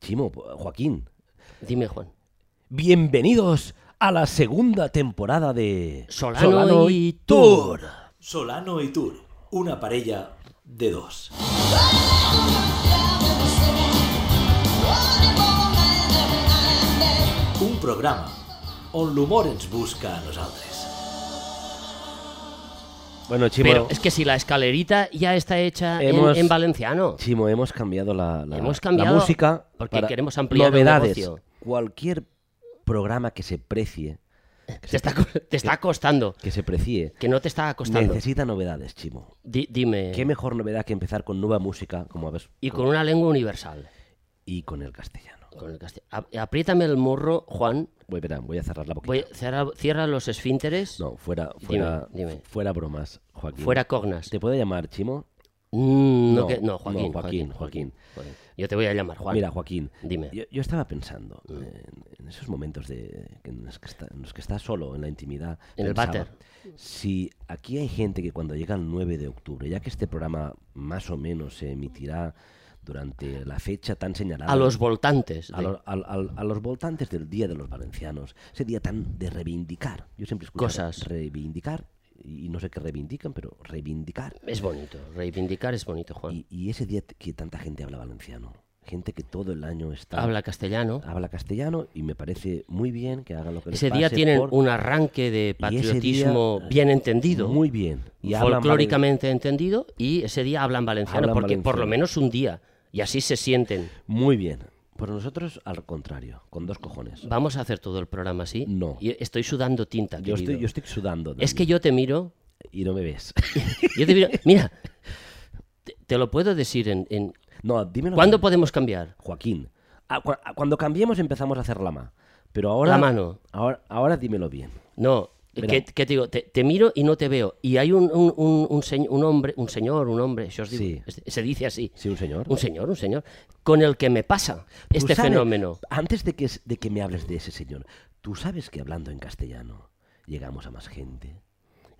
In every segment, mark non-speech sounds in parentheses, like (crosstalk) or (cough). Chimo, Joaquín, Dime, Juan. bienvenidos a la segunda temporada de Solano y Tour. Solano y Tour, una parella de dos. Un programa on l'humor ens busca a nosaltres. Bueno, Chimo, Pero es que si la escalerita ya está hecha en- Hemos- (laughs) en, valenciano. Chimo, hemos cambiado la, la- Hemos la cambiado música porque para queremos ampliar el novedades. negocio. Cualquier programa que se precie, Te está, co- te está costando. que se precie, Que no te está costando. necesita novedades, Chimo. Di- dime. ¿Qué mejor novedad que empezar con nueva música, como ves, Y con una lengua universal. y con el castellano? Con el castell- A- Apriétame el morro, Juan. Voy, verán, voy a cerrar la boquita. Voy, cierra, cierra los esfínteres. No, fuera, fuera, Dime, dime. fuera bromas, Joaquín. Fuera cognas. ¿Te puedo llamar, Chimo? Mm, no, No, que- no, no, Joaquín, Joaquín, Joaquín. Yo te voy a llamar, Juan. Mira, Joaquín, Dime. Mm. yo, yo estaba pensando eh, en, en esos momentos de, en, los que está, en los que está solo, en la intimidad. En el pensaba, váter. Si aquí hay gente que cuando llega el 9 de octubre, ya que este programa más o menos se emitirá durante la fecha tan señalada. a los voltantes. a, de- lo- al- al- a los voltantes del Día de los Valencianos, ese día tan de reivindicar. Yo siempre escucho Cosas. reivindicar, y no sé qué reivindican, pero reivindicar. Es bonito. Reivindicar es bonito, Juan. Y, y ese día t- que tanta gente habla valenciano, gente que todo el año está Habla castellano. habla castellano y me parece muy bien que hagan lo que les Ese día pase tienen por- un arranque de Y ese día, patriotismo bien entendido. muy bien y hablan valen- folclóricamente entendido y ese día hablan valenciano Hablan porque por valenciano. lo menos un día y así se sienten. muy bien. Pues nosotros al contrario, con dos cojones. Vamos a hacer todo el programa así. No. Y estoy sudando tinta. Yo querido. estoy, yo estoy sudando. Es Dani, que yo te miro, y no me (laughs) ves. yo (laughs) te miro. Mira, te, te lo puedo decir en, en- no, dímelo. ¿cuándo podemos cambiar? Joaquín, a- cua- a- cuando cambiemos empezamos a hacer la ma. Pero ahora La mano. Ahora, ahora dímelo bien. No. Mira. ¿Qué, qué te digo? Te, te miro y no te veo. Y hay un, un, un- un señ- un hombre, un señor, un hombre, se os digo, Sí. es- se dice así. Sí, un señor. Un señor, un señor, con el que me pasa Tú este sabes- fenómeno. Antes de que, es- de que me hables de ese señor, tú sabes que hablando en castellano llegamos a más gente.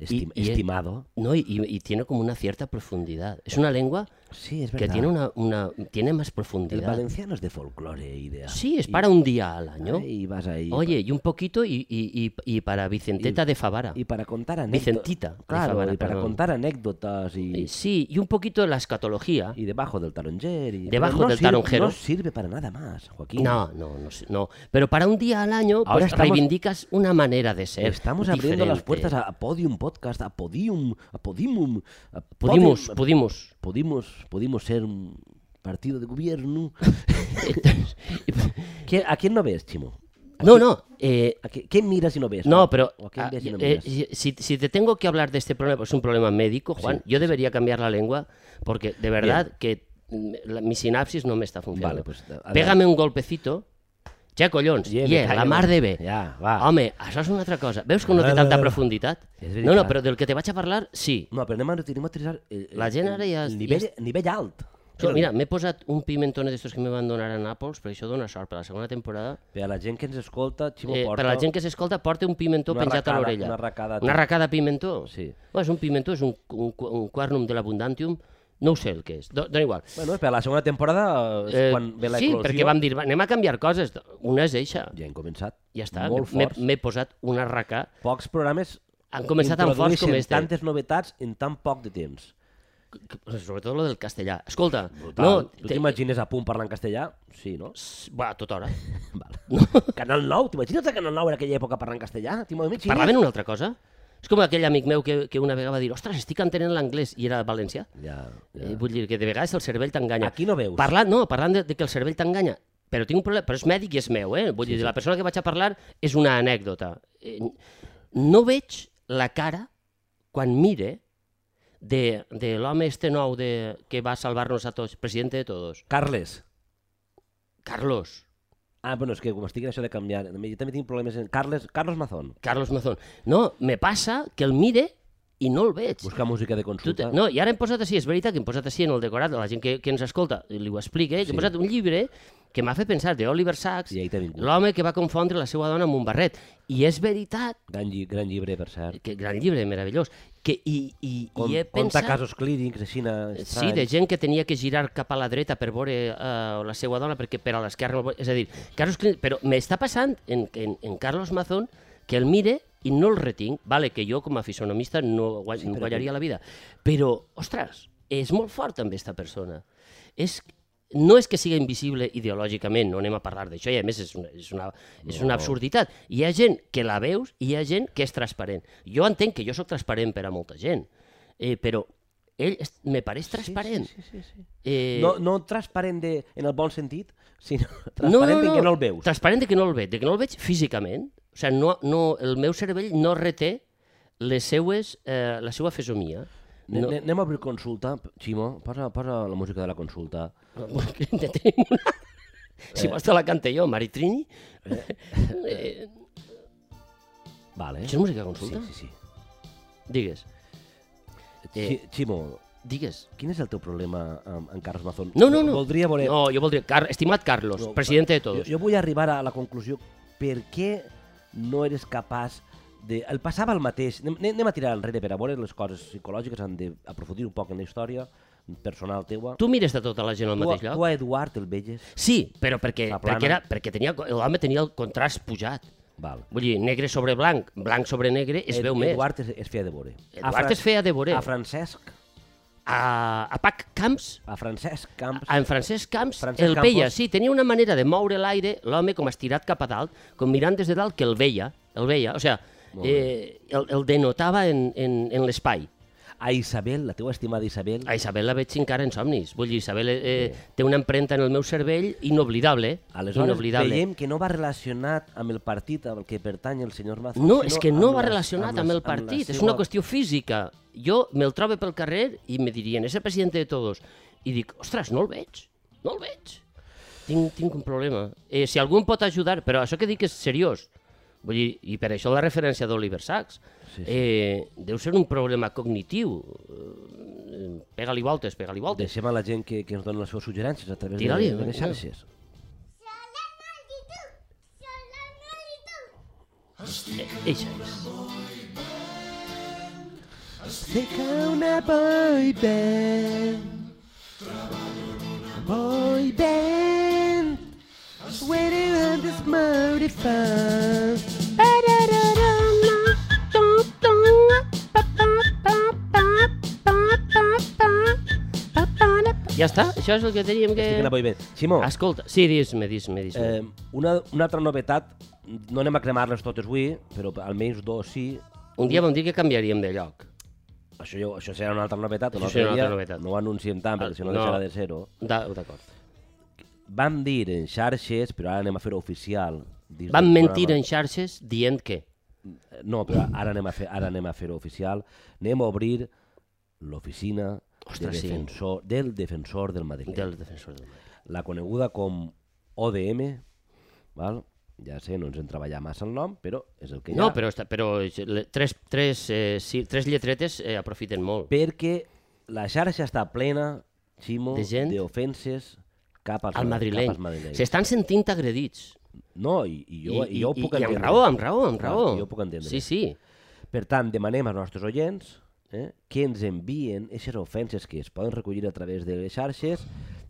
Esti- y- estimado. No, y, y- y tiene como una cierta profundidad. Es una lengua Sí, es verdad. que tiene una, una tiene más El profundidad. valenciano es de folclore y de... Sí, es para un día al año. Y vas ahí... Oye, y un poquito y, y- y- y para Vicenteta de Favara. Y para contar anécdotas... Vicentita, de Claro, Favara, y para perdón. contar anécdotas y... Eh, Sí, y un poquito de la escatología. y debajo del taronger y... Debajo Pero no del sirve- taronjero. No sirve para nada más, Joaquín. No, no, no, sé, no. Pero para un día al año pues, Ahora estamos- reivindicas una manera de ser. Estamos abriendo las diferente. puertas a, a Podium Podcast, a Podium, a Podimum... a Pudimos, Podium- pudimos. Podimos, podimos ser un partido de (laughs) gobierno. ¿Qui- ¿A quién no ves, Chimo? No, no. eh, ¿A qui- quién miras y no ves? No, pero ¿O a quién ah, ves y no eh, miras? si- si, si te tengo que hablar de este problema, pues es un problema médico, Juan, yo debería cambiar la lengua porque de verdad que mm, la- mi sinapsis no me está funcionando. Vale, pues, adelante. Pégame un golpecito. Chaco Collons, Ye, me ye, la callo. mar de bé. eh? Ja, va. Home, això és una altra cosa. Veus que no té Va, va, tanta va. profunditat? És No, no, veritat. però del que te vaig a parlar, sí. No, però anem a, anem a utilitzar... eh, eh, La gent ara ja- el Nivell, nivell alt. Jo, mira, m'he posat un pimentone d'estos que me van donar a Nàpols, però això dona sort per la segona temporada. Per a la gent que ens escolta, Ximo Eh, Porta... per a la gent que s'escolta, porta un pimentó Una penjat arracada, a l'orella. una arracada. Una arracada de pimentó? Sí. Bueno, és un pimentó, és un, un, qu- un quernum de l'abundantium, no ho sé el que és, do, dona igual. Bueno, per a la segona temporada és Eh, quan ve la sí, eclosió. perquè vam dir, va, anem a canviar coses, una és eixa, Ja hem començat. ja està, Molt m'he- forts. m'he posat una arracà. Pocs programes Han començat tan forts introdueixen com este. tantes novetats en tan poc de temps. que- Sobretot lo del castellà. Escolta, No, no... tu t'imagines a punt parlant castellà? Sí, no? s- Va, a tota hora. Val. Canal 9, t'imagines el Canal 9 en aquella època parlant castellà? T'imagines? Parlaven una altra cosa? És com aquell amic meu que, que una vegada va dir ostres, estic entenent l'anglès i era valencià. Ja, Eh, ja. vull dir que de vegades el cervell t'enganya. Aquí no veus. Parlant, no, parlant de, de que el cervell t'enganya, però tinc un problema, però és mèdic i és meu, eh? Vull dir, la persona que vaig a parlar és una anècdota. Eh, No veig la cara quan mire de, de l'home este nou de, que va salvar-nos a tots, president de tots, Carles. Carlos, Ah, bueno, és que com estic en això de canviar, també- jo també tinc problemes en... Carles, Carlos Mazón. Carlos Mazón. No, me passa que el mire i no el veig. Busca música de Tu te... consulta. No, i ara hem posat així, és veritat que hem posat així en el decorat, a la gent que, que ens escolta i li ho explica, eh? Sí. que hem posat un llibre que m'ha fet pensar, d'Oliver Sacks, I ahí t'ha vingut. l'home que va confondre la seva dona amb un barret. I és veritat Gran, lli gran llibre, per cert. que gran llibre, meravellós. que, i, i, Com, i he Conta pensat... casos clínics, aixina... Sí, de gent que tenia que girar cap a la dreta per veure uh, la seva dona perquè per a l'esquerra... no el ve- És a dir, Carlos Clin... però m'està passant en, en, en Carlos Mazón que el mire i no el retinc, vale, que jo com a fisonomista no, guany, no guanyaria la vida, però, ostres, és molt fort també aquesta persona. És, no és que sigui invisible ideològicament, no anem a parlar d'això, i a més és una, és una, és No. una absurditat. Hi ha gent que la veus i hi ha gent que és transparent. Jo entenc que jo sóc transparent per a molta gent, eh, però ell és, me pareix transparent. Sí, sí, sí, sí. Eh, No, no transparent de, en el bon sentit, sinó (laughs) transparent en què no el veus. Transparent de que no el veig, de que no el veig físicament. O sigui, no, no, el meu cervell no reté les seues, eh, la seva fesomia. Ne- No, ne- Anem a obrir consulta. Ximo, posa, posa la música de la consulta. (laughs) ne tenim una... Si Eh. vols te la cante jo, Maritrini. Eh, Vale. això és música de consulta? Sí, sí, sí. Digues, Eh. Xi- Ximo, digues. quin és el teu problema amb, amb Carles Mazón? No, no, no. Voldria veure... No, jo voldria... Car Estimat Carlos, No, presidente de todos. Jo, jo vull arribar a la conclusió per què no eres capaç de... El passava el mateix. Anem, anem a tirar enrere per a veure les coses psicològiques, hem d'aprofundir un poc en la història personal teua. Tu mires de tota la gent al tu, a, mateix lloc? tu a Eduard el veies? Sí, però perquè, La plana. perquè, era, perquè tenia, l'home tenia el contrast pujat. Val. Vull dir, negre sobre blanc, blanc sobre negre, es Ed- veu més. Eduard es, es feia de veure. Eduard es feia de veure. A Francesc, a, a Pac Camps, a Francesc Camps. a en Francesc Camps, Francesc el veia, Campos. sí, tenia una manera de moure l'aire, l'home com estirat cap a dalt, com mirant des de dalt, que el veia, el veia, o sigui, eh, el, el denotava en, en, en l'espai. a Isabel, la teva estimada Isabel, A Isabel la veig encara en somnis, vull dir, Isabel eh, té una empremta en el meu cervell inoblidable, aleshores inoblidable. veiem que no va relacionat amb el partit al que pertany el senyor Mazón. No, sinó és que amb no va les- relacionat amb, les- el la partit, és seva- una qüestió física. Jo me'l trobo pel carrer i me dirien, és el president de tots. I dic, ostres, no el veig, no el veig. Tinc, tinc un problema. Eh, si algú em pot ajudar, però això que dic és seriós. Vull dir, i per això la referència d'Oliver Sacks. Sí, sí. Eh, deu ser un problema cognitiu. Eh, Pega-li voltes, pega-li voltes. Deixem a la gent que, que ens dona els seus suggerències a través de, Tira-li, de les vinga. xarxes. Eh, eixa és. Sé que una boy band Boy band Waiting on this modified Ja està, això és el que teníem que... Estic en la boy band. Ximo, Escolta, sí, dis-me, dis-me, dis-me. eh, una, una altra novetat, no anem a cremar-les totes avui, però almenys dos sí. Un dia vam dir que canviaríem de lloc. Això, jo, això serà una altra novetat. un Això altre serà una dia. altra novetat. No ho anunciem tant, Ah, perquè si no no. deixarà de ser-ho. Da- D'acord. Vam dir en xarxes, però ara anem a fer-ho oficial. dins Van del mentir programa. en xarxes dient que... No, però ara anem a fer, ara anem a fer oficial. Anem a obrir l'oficina de Ostres, sí. defensor, del defensor del Madrid. Del defensor del Madrid. La coneguda com ODM, val? ja sé, no ens hem treballat massa el nom, però és el que hi ha. No, però, està, però és- le- tres, tres, eh, sí, tres lletretes eh, aprofiten molt. Perquè la xarxa està plena, Ximo, De gent? d'ofenses cap als, Al ma- madrileny. cap als madrilenys. S'estan sentint agredits. No, i, i, jo, i, jo ho puc i, entendre. amb raó, amb raó, amb Clar, raó. jo ho puc entendre. Sí, sí. Per tant, demanem als nostres oients eh, que ens envien aquestes ofenses que es poden recollir a través de les xarxes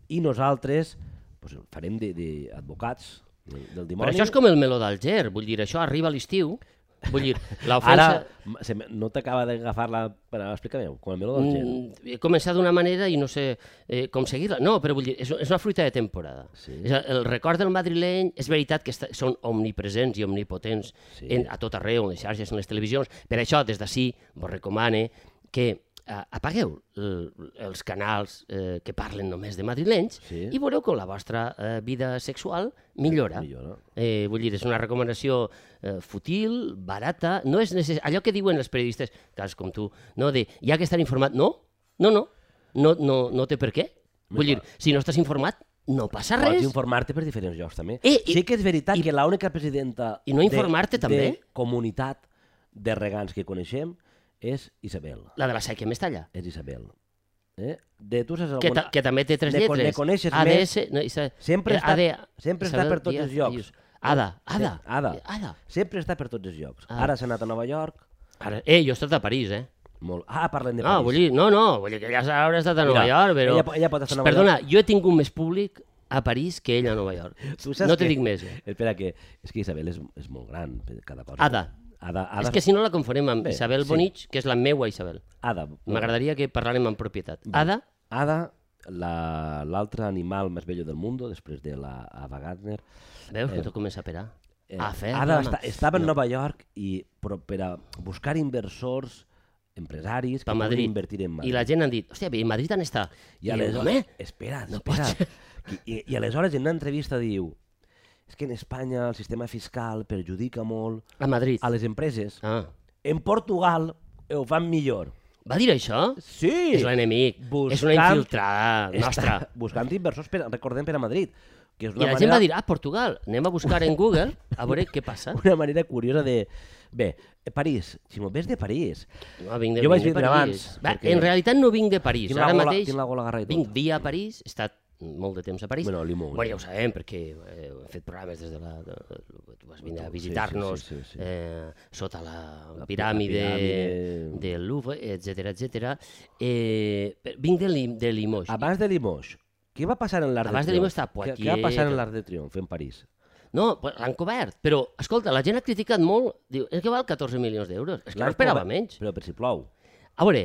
i nosaltres pues, farem d'advocats de, del, del Però dimoni. això és com el meló d'Alger. Vull dir, això arriba a l'estiu. Vull (laughs) dir, l'ofensa... Ara, m- se, me- no t'acaba d'agafar-la... Però explica-me, com el meló del gel. Mm, he començat d'una manera i no sé eh, com seguir-la. No, però vull dir, és, és una fruita de temporada. Sí. És el, el record del madrileny, és veritat que està, són omnipresents i omnipotents Sí. sí. en, a tot arreu, en les xarxes, en les televisions. Per això, des d'ací, vos recomane que eh, apagueu el, els canals eh, que parlen només de madrilenys Sí. i veureu com la vostra eh, vida sexual millora. Millora. Eh, vull dir, és una recomanació eh, futil, barata, no és necessari... Allò que diuen els periodistes, cas com tu, no, de, hi ha que estar informat, no, no, no, no, no, no té per què. Vull dir, si no estàs informat, no passa Pots res. informar-te per diferents llocs, també. Eh, i- sí que és veritat que l'única presidenta i no informar-te, de, també? de comunitat de regants que coneixem és Isabel. La de la sèquia més talla. És Isabel. Eh? De tu saps Que, alguna... ta, que també té tres de con- lletres. de coneixes ADS, No, i sa- Sempre eh, està- AD, sempre està Isabel per tots els llocs. Díaz. Ada, Ada. Sí, Ada. Eh, Ada. Sempre està per tots els llocs. Ah. Ara s'ha anat a Nova York, Ara, eh, jo he estat a París, eh? Molt... Ah, parlem de No, París. vull dir, no, no, vull dir que ja haurà estat a Nova Mira, York, però... ella po- ella pot estar a Nova Perdona, jo he tingut més públic a París que ella a Nova York. (laughs) Tu saps no te que- dic més. eh? Espera, que... És que Isabel és, és molt gran, per cada cosa. Ada. Ada, Ada, És que si no la confonem amb Bé, Isabel sí. Bonich, que és la meua Isabel. Ada. M'agradaria que parlàrem en propietat. Ada, Ada, la- l'altre animal més bello del món, després de la Ava Gardner. veus que tot comença a perar? Eh, a fer Ada programa. esta, estava no. a Nova York i però per a buscar inversors, empresaris, que Pa vulguin Madrid. invertir en Madrid. I la gent han dit, hòstia, i Madrid on està? I I diu, aleshores... home, Espera, no espera. I, i, I aleshores en una entrevista diu és que en Espanya el sistema fiscal perjudica molt a Madrid. a les empreses. Ah. En Portugal ho fan millor. Va dir això? Sí! És l'enemic, és una Buscant- infiltrada nostra. Està buscant inversors, per, recordem, per a Madrid. Que és I una la manera, gent va dir, ah, Portugal, anem a buscar en Google a veure què passa. Una manera curiosa de... Bé, eh, París, si m'ho ves de París, No, vinc de, Jo vaig vinc de vindre París. abans, Va, perquè- En realitat no vinc de París. Tinc la Ara gola- mateix tinc la gola agarra i tot. vinc via París, he estat molt de temps a París. Bueno, limón. Bueno, ja ho sabem, perquè eh, hem fet programes des de la... De, de, tu vas venir a visitar-nos sí, sí, sí. eh, sota la, la piràmide, piràmide. del Louvre, etc etc. Eh, però vinc de, Lim, de Limoges. abans de Limoges, què va passar en l'Arc de Abans de Triomf? Limoges estava Què, què va passar Poitiers. en l'Arc de Triomf en París? No, però l'han cobert. Però, escolta, la gent ha criticat molt. Diu, és que val 14 milions d'euros. És que no L'Arc esperava cobert- menys. Però per si plou. A veure,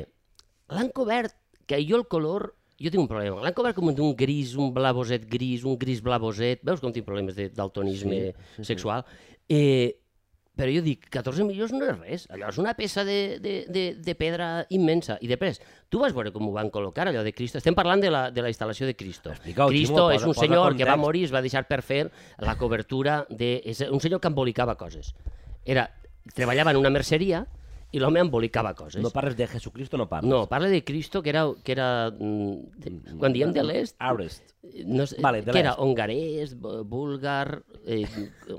l'han cobert, que jo el color, jo tinc un problema. L'han cobert com d'un gris, un blavoset gris, un gris blavoset, veus com tinc problemes de daltonisme Sí, sí, sí, sexual? Eh, però jo dic, 14 milions no és res, allò és una peça de, de, de, de pedra immensa. I després, tu vas veure com ho van col·locar, allò de Cristo. Estem parlant de la, de la instal·lació de Cristo. Explica-ho, Cristo Ximo, és posa- un posa senyor que va context. morir i es va deixar per fer la cobertura de... És un senyor que embolicava coses. Era, treballava en una merceria i l'home embolicava coses. No parles de Jesucristo, no parles. No, parla de Cristo, que era... Que era mm, de, quan diem de l'est... Arest. No sé, Vale, de que era l'est. hongarès, b- búlgar, eh,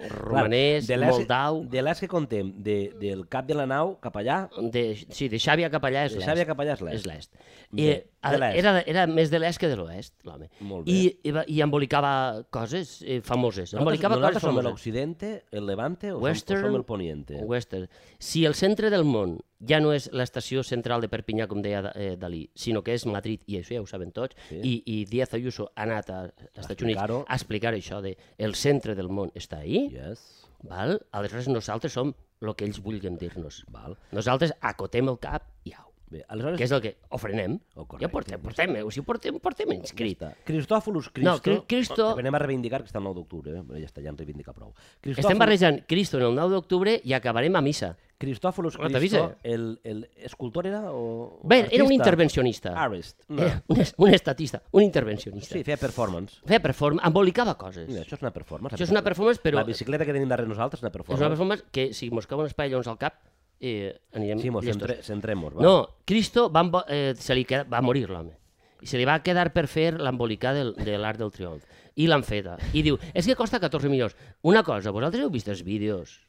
romanès, Clar, de l'est- moldau... De l'Est que contem, de, del cap de la nau cap allà, De, sí, de Xàbia cap allà és de l'est. Xàbia cap allà és l'Est. És l'est. Bé, Eh, de a- l'est. era, era més de l'est que de l'oest, l'home. Molt bé. I, i, va- I embolicava coses eh, famoses. Nosaltres, Embolicava nosaltres coses som famoses. l'Occidente, el Levante o, Western, som, o som el Poniente? Western. Si el centre del món ja no és l'estació central de Perpinyà, com deia eh, Dalí, sinó que és Madrid, i això ja ho saben tots, Sí. sí. i, i Díaz Ayuso ha anat a- als Estats Units explicar-ho. a explicar això de el centre del món està ahí, Yes. val? aleshores nosaltres som el que ells vulguin dir-nos. Val. Nosaltres acotem el cap i au. Bé, aleshores... Que és el que o frenem, Oh, oh, correcte. ja portem, portem, eh? o sigui, portem, portem inscrit. Crista. Cristòfolus Cristo. No, Cri- Cristo- Que anem a reivindicar, que està el 9 d'octubre, eh? Però ja està, ja en reivindica prou. Estem barrejant Cristo en el 9 d'octubre i acabarem a missa. Cristòfolus Bueno, Cristo, t'avisa. el, el escultor era o... Bé, era un artista? intervencionista. Artist. No. Era un, (laughs) es- un estatista, un intervencionista. Sí, feia performance. Feia perform... embolicava coses. Mira, això és una performance. Això és una performance, però La és bicicleta que tenim darrere nosaltres és una una performance. performance que si mos cauen els pavellons al cap eh, anirem Sí, mos, llestos. centre, centrem-nos. va. No, Cristo va, embo- eh, se li queda, va morir l'home i se li va quedar per fer l'embolicà del, de l'art del triomf i l'han feta i diu, és que costa 14 milions una cosa, vosaltres heu vist els vídeos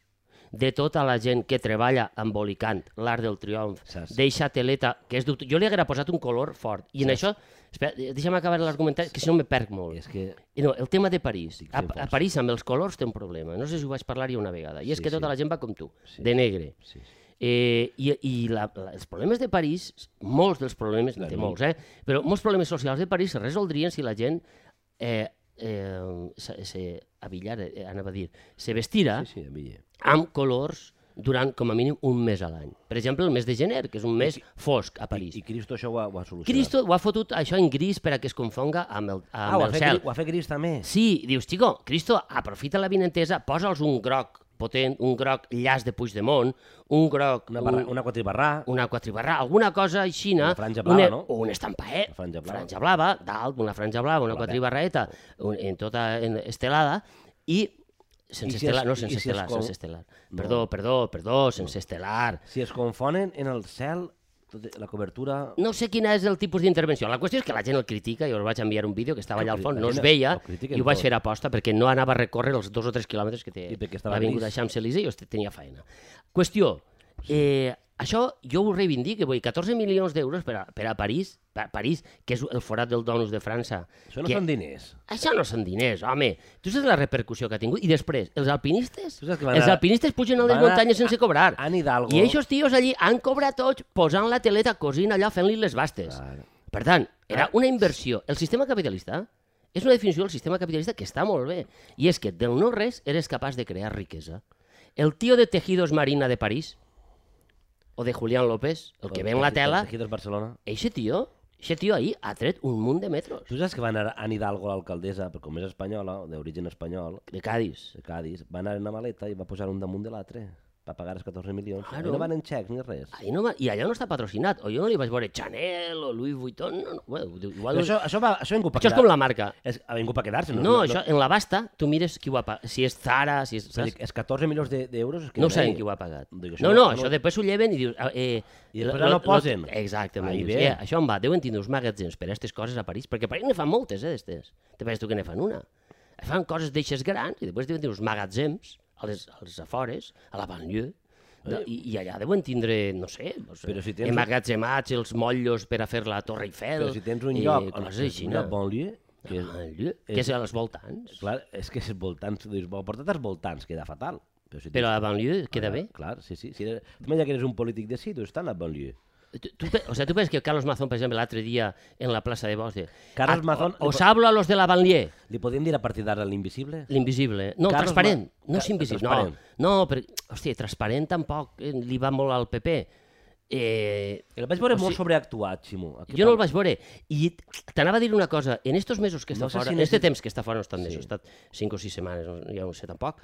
de tota la gent que treballa embolicant l'art del triomf, Saps. deixa teleta, que és dubte. Jo li haguera posat un color fort. I en això, espera, eh, deixa'm acabar l'argumentari, que si no me perc molt. És que... I No, el tema de París. Estic A, fent a força. París amb els colors té un problema. No sé si ho vaig parlar ja una vegada. I és Sí, que tota sí. la gent va com tu, Sí. de negre. Sí, sí. Eh, I i la, la, els problemes de París, molts dels problemes, Clar, de no. molts, eh? però molts problemes socials de París es resoldrien si la gent eh, eh, se, se avillara, eh, anava a dir, se vestira Sí, sí, a mi. amb colors durant com a mínim un mes a l'any. Per exemple, el mes de gener, que és un mes fosc a París. I Cristo això ho ha, ho ha solucionat. Cristo ho ha fotut això en gris per a que es confonga amb el, amb Ah, ho ha, el fet, cel. Cri- ho ha fet Crist també. Sí, dius, Chico, Cristo, aprofita la vinentesa, posa'ls un groc potent, un groc llaç de Puigdemont, un groc... Una, barra, un, una quatribarrà. una quatribarrà, alguna cosa així. Una franja blava, una, no? o Una estampa, eh? Una franja blava. Franja blava, dalt, una franja blava, una Blava. quatribarraeta, un, en tota en estelada, i sense I si estelar, es- no, i sense si es estelar, col- sense estelar. Perdó, perdó, perdó, sense estelar. Si es confonen en el cel, tot, la cobertura... No sé quin és el tipus d'intervenció. La qüestió és que la gent el critica, jo el vaig enviar un vídeo que estava allà al fons, no es veia, El critiquen i ho vaig tot. fer a aposta perquè no anava a recórrer els dos o tres quilòmetres que té I perquè estava l'avinguda gris. Champs-Élysées i jo est- tenia feina. Qüestió, Eh, això jo ho reivindico, vull dir, 14 milions d'euros per, a, per a París, per a París, que és el forat del Donus de França. Això no que, són diners. Això no són diners, home. Tu saps la repercussió que ha tingut? I després, els alpinistes? Tu saps que van Els anar- alpinistes pugen a les van anar muntanyes sense cobrar. a- Anne Hidalgo. I aquests tios allí han cobrat tots posant la teleta cosint allà fent-li les bastes. Clar. Per tant, Ah. era una inversió. El sistema capitalista és una definició del sistema capitalista que està molt bé. I és que del no-res eres capaç de crear riquesa. El tio de Tejidos Marina de París, o de Julián López, el que veu la tela, Aquí dels Barcelona. eixe tio, eixe tio ahir ha tret un munt de metros. Tu saps que va anar Anne Hidalgo, l'alcaldessa, però com és espanyola, d'origen espanyol, De Cádiz. de Cádiz, va anar en una maleta i va posar un damunt de l'altre. Va pagar els 14 milions. Claro. Ah, Claro. No van en xecs ni res. Ahí no va, I allà no està patrocinat. O jo no li vaig veure Chanel o Louis Vuitton. No, no. Bueno, diu, Però igual, això, això, va, això ha vingut per doncs això és com la marca. És, ha vingut per quedar-se. No, això en la basta tu mires qui ho ha pagat. Si és Zara, si és... És a dir, Saps? els 14 milions de- d'euros... és que No ho sabem hi- qui ho ha pagat. Dic, això No, no- no, no- això després ho lleven i dius... ah, Eh, I després lo- ara no lo- posen. Exactament. Ahí Dius, ve. eh, això em va, deuen tindre uns magatzems per a aquestes coses a París, perquè a París ne fan moltes, eh, d'estes. Te penses tu que ne fan una. Fan coses d'eixes grans i després deuen tindre uns magatzems a les, a les afores, a la banlieue, de, i, i allà deuen tindre, no sé, doncs, Però si tens- emmagatzemats, els motllos per a fer la Torre Eiffel... Però si tens un eh, lloc... on- coses així, un no? lloc banlieue, que és, Banlieue, que és als voltants. clar, és que és voltants, dius, "Bo, porta't als voltants, queda fatal. Però, si Però a banlieue queda bé. Clar, sí, sí. Si eres, també ja que eres un polític de sí, tu estàs a banlieue. Tu, tu, pe- o sea, tú penses que Carlos Mazón, per exemple, l'altre dia en la plaça de Bòsnia... Carlos "Ah, Mazón- o- Os hablo a los de la banlieue, Li podem dir a partir d'ara l'invisible? l'invisible. eh? No, Carlos transparent. Ma- No Ca- és invisible. No, transparent. no per, hòstia, transparent tampoc eh, li va molt al PP. Eh, El vaig veure O molt sigui- sobreactuat, Ximo. jo no el vaig veure. I t'anava a dir una cosa. En estos mesos que està No sé fora... si en necessit- este temps que està fora no és tant Sí. d'això. Ha estat 5 o 6 setmanes, no, ja no sé tampoc.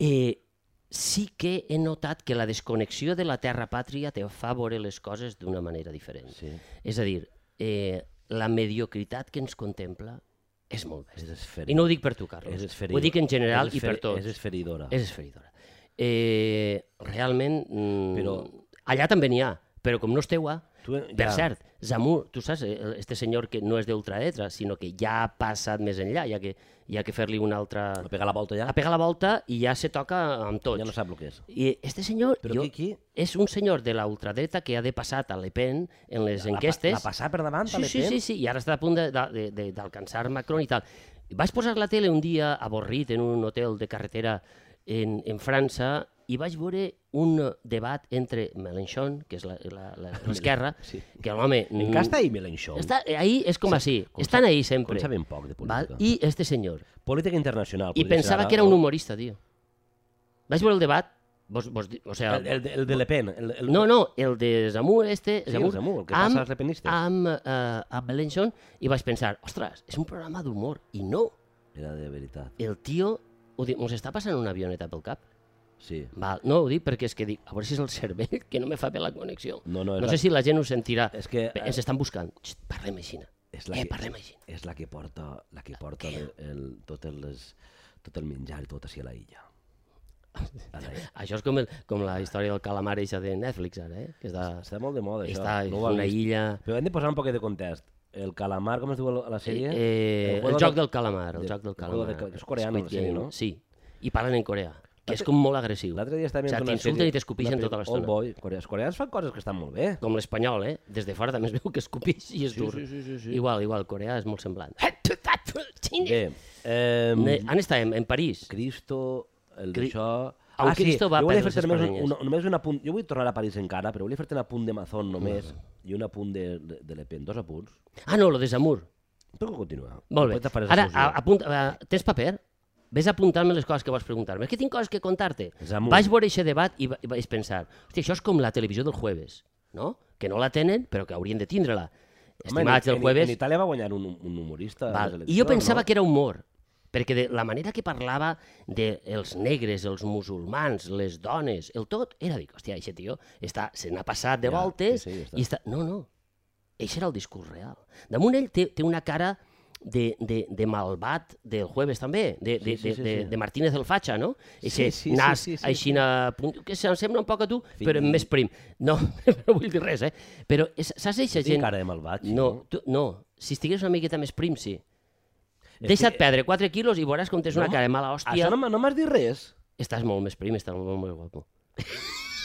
Eh, sí que he notat que la desconnexió de la terra pàtria te fa veure les coses d'una manera diferent. Sí, És a dir, eh, la mediocritat que ens contempla és molt és bèstia. esferidor. I no ho dic per tu, Carlos. és esferidor. ho dic en general és i per esferi- tots. És esferidora. És esferidora. Eh, realment, però... Però- allà també n'hi ha, però com no és teua, Tu, per cert, Zamur, tu saps, eh, este senyor que no és d'ultradetra, sinó que ja ha passat més enllà, ja que, ja que fer-li una altra... Va pegar la volta ja, A pegar la volta i ja se toca amb tots. ja no sap el que és. I este senyor... Però jo- qui, qui? és un senyor de la ultradreta que ha de passat a Le Pen en les La pa- enquestes. La passar per davant, sí, sí, sí, sí, i ara està a punt de- de- de- d'alcançar Macron i tal. Vaig posar la tele un dia avorrit en un hotel de carretera en, en França i vaig veure un debat entre Mélenchon, que és la- la- (laughs) la- l'esquerra, Sí. que l'home... mm, Encara està ahí Melenchon. Està, ahí és com així, com estan sa- ahí sempre. Com sabem poc de Val? política. I... I este senyor. Política internacional. podria I ser pensava ara, que era un no? humorista, tio. Vaig veure el debat, vos, vos, di- o sea, El, el, de- el de Le Pen. El, el... no, no, el de Zamur, este... Sí, el Zamur, el que passa als repenistes. Amb, eh, amb Melenchon, i vaig pensar, ostres, és un programa d'humor. I no, Era de veritat. el tio ho dic, mos està passant una avioneta pel cap. Sí. Val, no ho dic perquè és que dic, a veure si és el cervell (laughs) que no me fa bé la connexió. No, no, és no la- sé si la gent ho sentirà. És que, Bé, Ens estan buscant. Xt, parlem així. És Eh, parlem així. és la que porta, la que porta el, el, totes les, tot el menjar i tot així a la illa. A la illa. Això és com, el, com la història del calamar eixa de Netflix, ara, eh? Que està, Està molt de moda, això. està no ho no una has vist. illa... Però hem de posar un poquet de context. El calamar, com es diu la sèrie? Eh, el, juego joc del calamar, el de- joc del el juego calamar. de ca- és coreana, Squid la sèrie, Game, no? Sí, i parlen en coreà, que és com molt agressiu. L'altre dia estàvem O sigui, viendo una t'insulten sèrie- i t'escupixen una pel- tota l'estona. Old Boy, coreans. Els coreans fan coses que estan molt bé. Com l'espanyol, eh? Des de fora també es veu que escupix i és dur. sí, sí, sí. Igual, igual, el coreà és molt semblant. mm. Bé, ehm, Ne- On estàvem? En París? Cristo, el Cri- d'això... Ah, un Cristo va jo volia perdre fer-te les només, espadanyes. un, una- només una punt... Jo vull tornar a París encara, però volia fer-te un apunt de Mazón només i un apunt de, de, de Le Pen, dos apunts. Ah, no, lo de Zamur. Però que continua. Molt bé. Després te faré Ara, solució. a, apunta, a, tens paper? Ves apuntant-me les coses que vols preguntar-me. És que tinc coses que contar-te. Zamur. Vaig veure aquest debat i, va, i vaig pensar, hòstia, això és com la televisió del jueves, no? Que no la tenen, però que haurien de tindre-la. Home, en- Estimats del en- jueves... En Itàlia va guanyar un, un humorista. a les Val. Eh, I jo eleccions, pensava no? que era humor, perquè de la manera que parlava dels els negres, els musulmans, les dones, el tot, era dir, hòstia, aquest tio està, se n'ha passat de Ja, voltes sí, sí, ja està. i està... No, no, aquest era el discurs real. Damunt ell té, té una cara de, de, de malvat del jueves també, de, Sí, de, sí, de, sí, de, sí. de Martínez del Fatxa, no? Eixe sí, sí, nas sí, sí. així na... punt- que se'm sembla un poc a tu, Fi- però més prim. No, (laughs) no vull dir res, eh? Però és- saps eixa Té gent... cara de malvat. No, tu, no. Si estigués una miqueta més prim, sí. És Deixa't que- perdre 4 quilos i veuràs com tens una No, cara de mala Això hòstia. no, m'ha- no m'has dit res. Estàs molt més prim, estàs molt més guapo.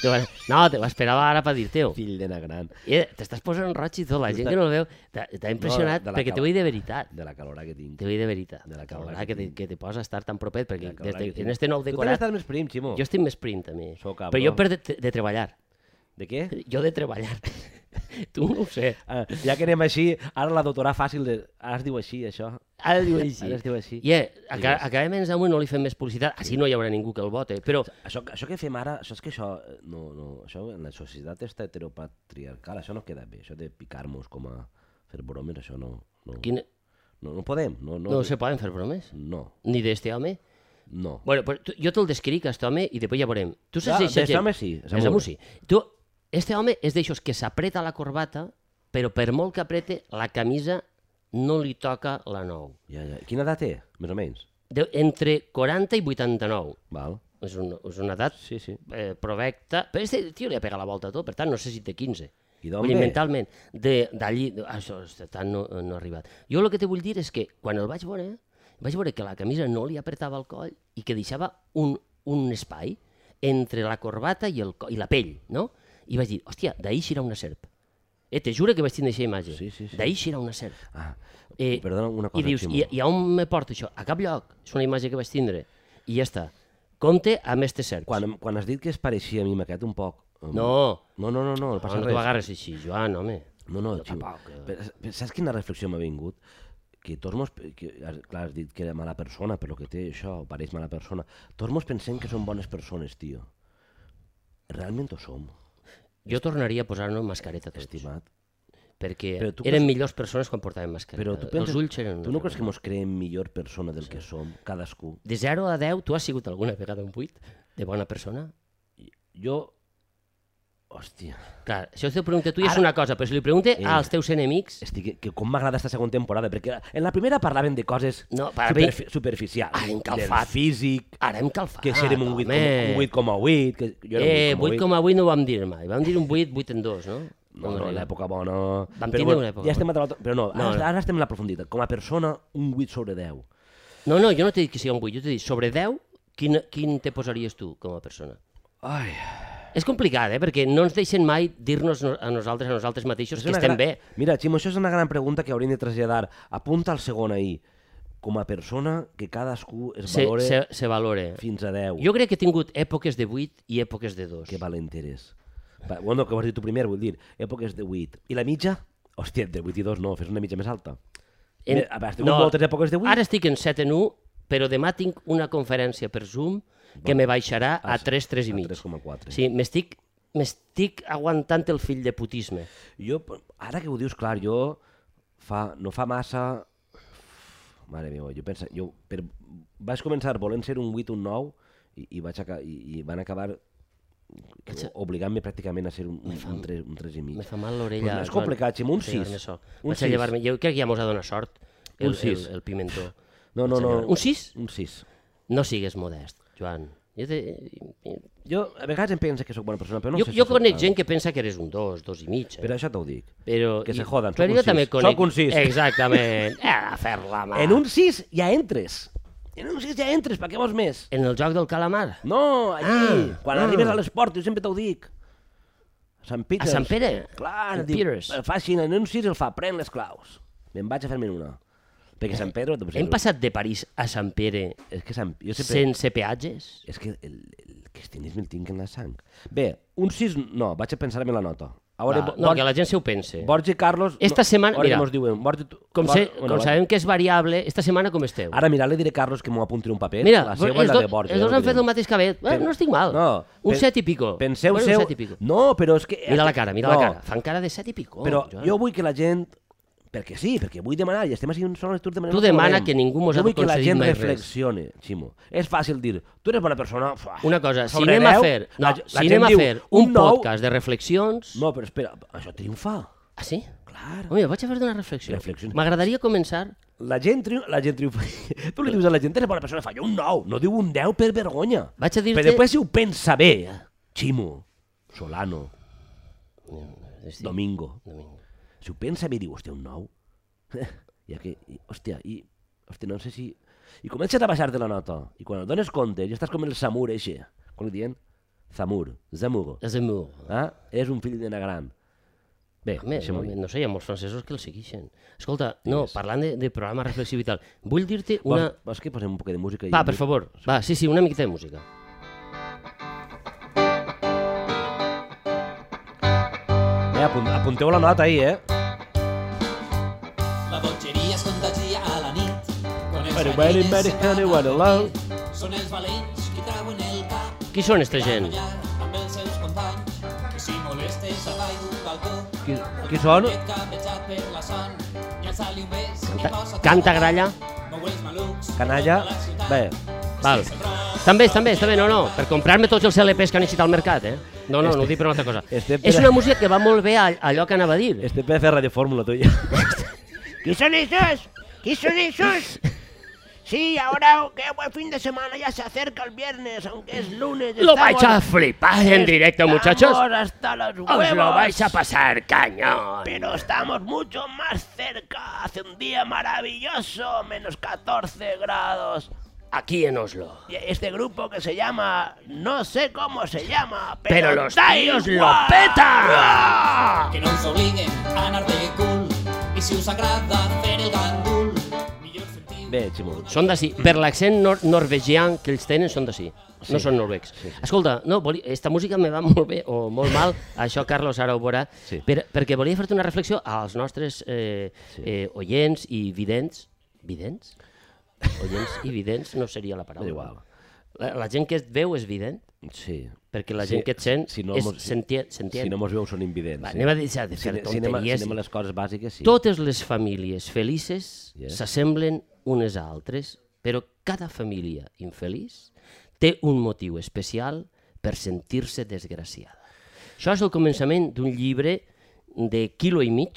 Diu, No, te esperava ara per dir-te-ho. Fill de la gran. Eh, T'estàs posant roig i tot, la gent que no el veu t'ha- t'ha impressionat de la perquè cal- t'ho he de veritat. De la calorà que tinc. T'ho he de veritat. de la De la calorada calorada que, que te, que te posa estar tan propet, perquè La calorà des de, que tinc. en este nou Tu també decorat estàs més prim, Ximo. jo estic més prim també. Sou cabró. Però jo per de, de treballar. (laughs) De què? Jo de treballar. (laughs) tu no ho sé. Ah, ja que anem així, ara la doctora fàcil de... Ara es diu així, això. Ara diu així. Ara es diu així. Yeah, aca acabem en Samu i no li fem més publicitat. Així no hi haurà ningú que el vote. Però Això, això que fem ara, això és que això... eh, No, no, això en la societat està heteropatriarcal, això no queda bé. Això de picar-nos com a fer bromes, això no... No, quin... no, no podem. No, no, no se poden fer bromes. No, Ni d'este home. no. Bueno, però tu, jo te'l descric, aquest home, i després ja veurem. Tu saps Ah, aquesta d'aquest gent? home sí, És segur. Samu sí. Tu, este home és d'aixòs que s'apreta la corbata, però per molt que aprete, la camisa no li toca la nou. Ja, ja. Quina edat té, més o menys? De, entre 40 i 89. Val. És una, és una edat Sí, sí. eh, provecta. Però este tio li ha pegat la volta a tot, per tant, no sé si té 15. I d'on Vull dir, ve? mentalment, de- d'allí, de- això és- tant no, no ha arribat. Jo el que te vull dir és que quan el vaig veure, vaig veure que la camisa no li apretava el coll i que deixava un, un espai entre la corbata i, el, co- i la pell, no? I vaig dir, hòstia, d'ahir xirà una serp. Eh, te juro que vaig tindre aquesta imatge. Sí, sí, sí. D'ahir xirà una serp. Ah, Eh, perdona una cosa, I dius, Ximo. i, i a on me porta això? A cap lloc. És una imatge que vaig tindre. I ja està. Compte amb este serp. Quan, quan has dit que es pareixia a mi, m'ha quedat un poc... em- No, No, no, no, no, no no, passa no t'ho res. agarres així, Joan, home. No, no, No, Ximo. tampoc, eh. Però, però saps quina reflexió m'ha vingut? Que tots mos... Que, has- clar, has dit que era mala persona, per lo que té això, o pareix mala persona. Tots mos pensem que són bones persones, tio. Realment ho som, Jo tornaria a posar-nos mascareta tots. estimat. perquè Però tu eren creus- millors persones quan portaven mascareta. Però tu penses... Els ulls eren... una Tu no altra creus que mos creem millor persona del que som, cadascú? cosa. De 0 a 10, tu has sigut alguna vegada un 8 de bona persona? Jo... Hòstia... Clar, això si ho pregunta a tu ja és Ara- una cosa, però si li pregunta Eh. als teus enemics... Estic, que com m'agrada aquesta segona temporada, perquè en la primera parlaven de coses No, per superfi superficials. Ah, hem del calfat. físic, ah, Ara hem calfat, que si érem un 8,8, home. que jo era Eh, un 8,8. 8,8 no ho vam dir mai. Vam dir un 8, 8 en 2, no? No, no, l'època bona... Vam Però tindre bueno, una època ja estem a l'altre- Però no, No, eh. ara, no. ara estem en la profunditat. Com a persona, un 8 sobre 10. No, no, jo no t'he dit que sigui un 8, jo t'he dit sobre 10, quin, quin te posaries tu com a persona? Ai, És complicat, eh? Perquè no ens deixen mai dir-nos no- a nosaltres, a nosaltres mateixos, que una estem gran- bé. Mira, Ximo, això és una gran pregunta que hauríem de traslladar. Apunta al segon ahir. Com a persona, que cadascú es Se, valore se, se valore. fins a 10. Jo crec que he tingut èpoques de 8 i èpoques de 2. Que valent eres. Va, Bueno, que ho has dit tu primer, vull dir, èpoques de 8. I la mitja? Hòstia, de 8 i 2 no, fes una mitja més alta. En... Mira, has tingut no. moltes èpoques de 8? Eh, Ara estic en 7 en 1, però demà tinc una conferència per Zoom que me baixarà a 3, 3 i Ah, a mig. 3,4. Sí, m'estic m'estic aguantant el fill de putisme. Jo, p- ara que ho dius, clar, jo fa, no fa massa... Mare meva, jo pensa, jo per, vaig començar volent ser un 8, un 9 i, i, vaig aca i, i van acabar obligant-me pràcticament a ser un, un, un, 3, un 3 i mig. Me fa mal l'orella. Però no és Joan, complicat, Ximo, un per llevar-me sis. sol. Un Vaig a sis. llevar-me... Jo crec que ja mos ha donat sort el, Un sis. el, el pimentó. No, no, Vaig a no. llevar- Un sis? Un 6. No sigues modest, Joan. Jo, te, Jo a vegades em penso que sóc bona persona, però no jo, sé si jo soc conec tant. gent que pensa que eres un dos, dos i mig. Eh? Per això t'ho dic. Però, Que se i- jodan, però sóc jo un també sis. conec... Sóc un sis. (laughs) Exactament. Eh, a fer-la, mà. En un 6 ja entres. En un 6 ja entres, per què vols més? En el joc del calamar. No, aquí, Ah, quan ah. arribes a l'esport, jo sempre t'ho dic. A Sant Peter. A Sant Pere? Clar, Sant diu, eh, Peters. el facin en un 6 el fa, pren les claus. Me'n vaig a fer-me una. Perquè Sant Pedro... doncs, Hem passat de París a Sant Pere És que Sant... Jo sempre... sense peatges? És que el, el cristianisme el tinc en la sang. Bé, un 6 no, vaig a pensar-me la nota. A veure, Va, Bo- no, Bor- que la gent se ho pense. Borja i Carlos... Esta setmana- Ara mira, mos diuen... Borja, tu, Com, Bor- se, bueno, com vaig- sabem que és variable, esta setmana com esteu? Ara, mira, li diré a Carlos que m'ho apunti en un paper. Mira, la els, seva i la do- de Borja. els ja ho dos han direm. fet el mateix que bé. Eh, Pen- no estic mal. No, un pen- set i pico. Penseu bueno, seu... Un set i pico. No, però és que... Mira la cara, mira No, la cara. Fan cara de set i pico. Però Joan. jo vull que la gent... Perquè sí, perquè vull demanar, i estem així un sol estur demanant... Tu el que demana volem. que ningú mos ha Jo vull que la concedit gent mai res. reflexione, Ximo. És fàcil dir, tu eres bona persona... Fuà, Una cosa, si sobre anem a 10, fer, no, la, si anem a fer un podcast de reflexions... No, però espera, això triomfa. Ah, sí? Clar. Home, vaig a fer una reflexió. Reflexions. M'agradaria començar... La gent, triom la gent triomfa. (laughs) tu li dius a la gent, eres bona persona, fa jo un 9, no diu un 10 per vergonya. Vaig a dir-te- Però després si ho pensa bé, eh? Ximo, Solano, Estic- Domingo, Eh, Domingo. Si ho pensa bé, diu, hòstia, un nou. (laughs) I aquí, i, hòstia, i, hòstia, no sé si... I comences a baixar-te la nota. I quan et dones compte, ja estàs com el Samur, eixe. Com li diuen? Zamur, Zamur. És el meu. Ah? És un fill de Negrán. Bé, Home, deixem-ho no, dir. no sé, hi ha molts francesos que el segueixen. Escolta, no, parlant de, de programa reflexiu i tal, vull dir-te una... Vols, vols que posem un poquet de música? i- Va, per favor, va, sí, sí, una miqueta de música. Eh, apunt, apunteu la nota ahí, eh? La botgeria es contagia a la nit. Quan els Very, gallines very, very se'n van honey, a what a dormir. love. Són els valents qui trauen el cap. Qui són esta gent? Van allà Amb els seus companys, que si molestes avall d'un balcó. Qui, qui són? Et capejat per la son, llança-li un bes i tota Canta- posa't a canta, ballar. gralla. Mou els malucs. Canalla? per tota la ciutat. Bé, Val. Estan bé, estan bé, estan bé, no, no, per comprar-me tots els LPs que han eixit al mercat, eh? No, no, no ho dic per una altra cosa. Estem per- És una música que va molt bé a, a allò que anava a dir. este per fer Radio Fórmula, tu (laughs) ja. ¿Quién son esos? ¿Quién son esos? Sí, ahora que buen fin de semana, ya se acerca el viernes, aunque es lunes. Lo estamos- vais a flipar en directo, estamos muchachos. hasta los Os huevos. lo vais a pasar, cañón. Pero estamos mucho más cerca. Hace un día maravilloso, menos 14 grados. Aquí en Oslo. Y este grupo que se llama, no sé cómo se llama, pero, Pero los da tíos lo igual. ¡Ah! petan. Que no ens obliguen a anar de cul, i si us agrada fer el gandul, millor sentiu... Bé, Ximo, Són d'ací. Mm. Per l'accent nor norvegian que ells tenen, són d'ací. No són noruecs. Escolta, no, volia, esta música me va (laughs) molt bé o molt mal, això Carlos ara ho veurà, Sí. per, perquè volia fer-te una reflexió als nostres eh, eh, oients i vidents. Vidents? Oients i vidents no seria (laughs) la paraula. És igual. La, la gent que et veu és vident, sí. perquè la Sí, gent que et sent si no és, mos- s'entien. s'entien. Si no mos veu són invidents. Va, sí. anem a deixar de Si, si, fer anem, a- si tonteries. anem a les coses bàsiques, sí. Totes les famílies felices Yes. s'assemblen unes a altres, però cada família infeliç té un motiu especial per sentir-se desgraciada. Això és el començament d'un llibre de quilo i mig,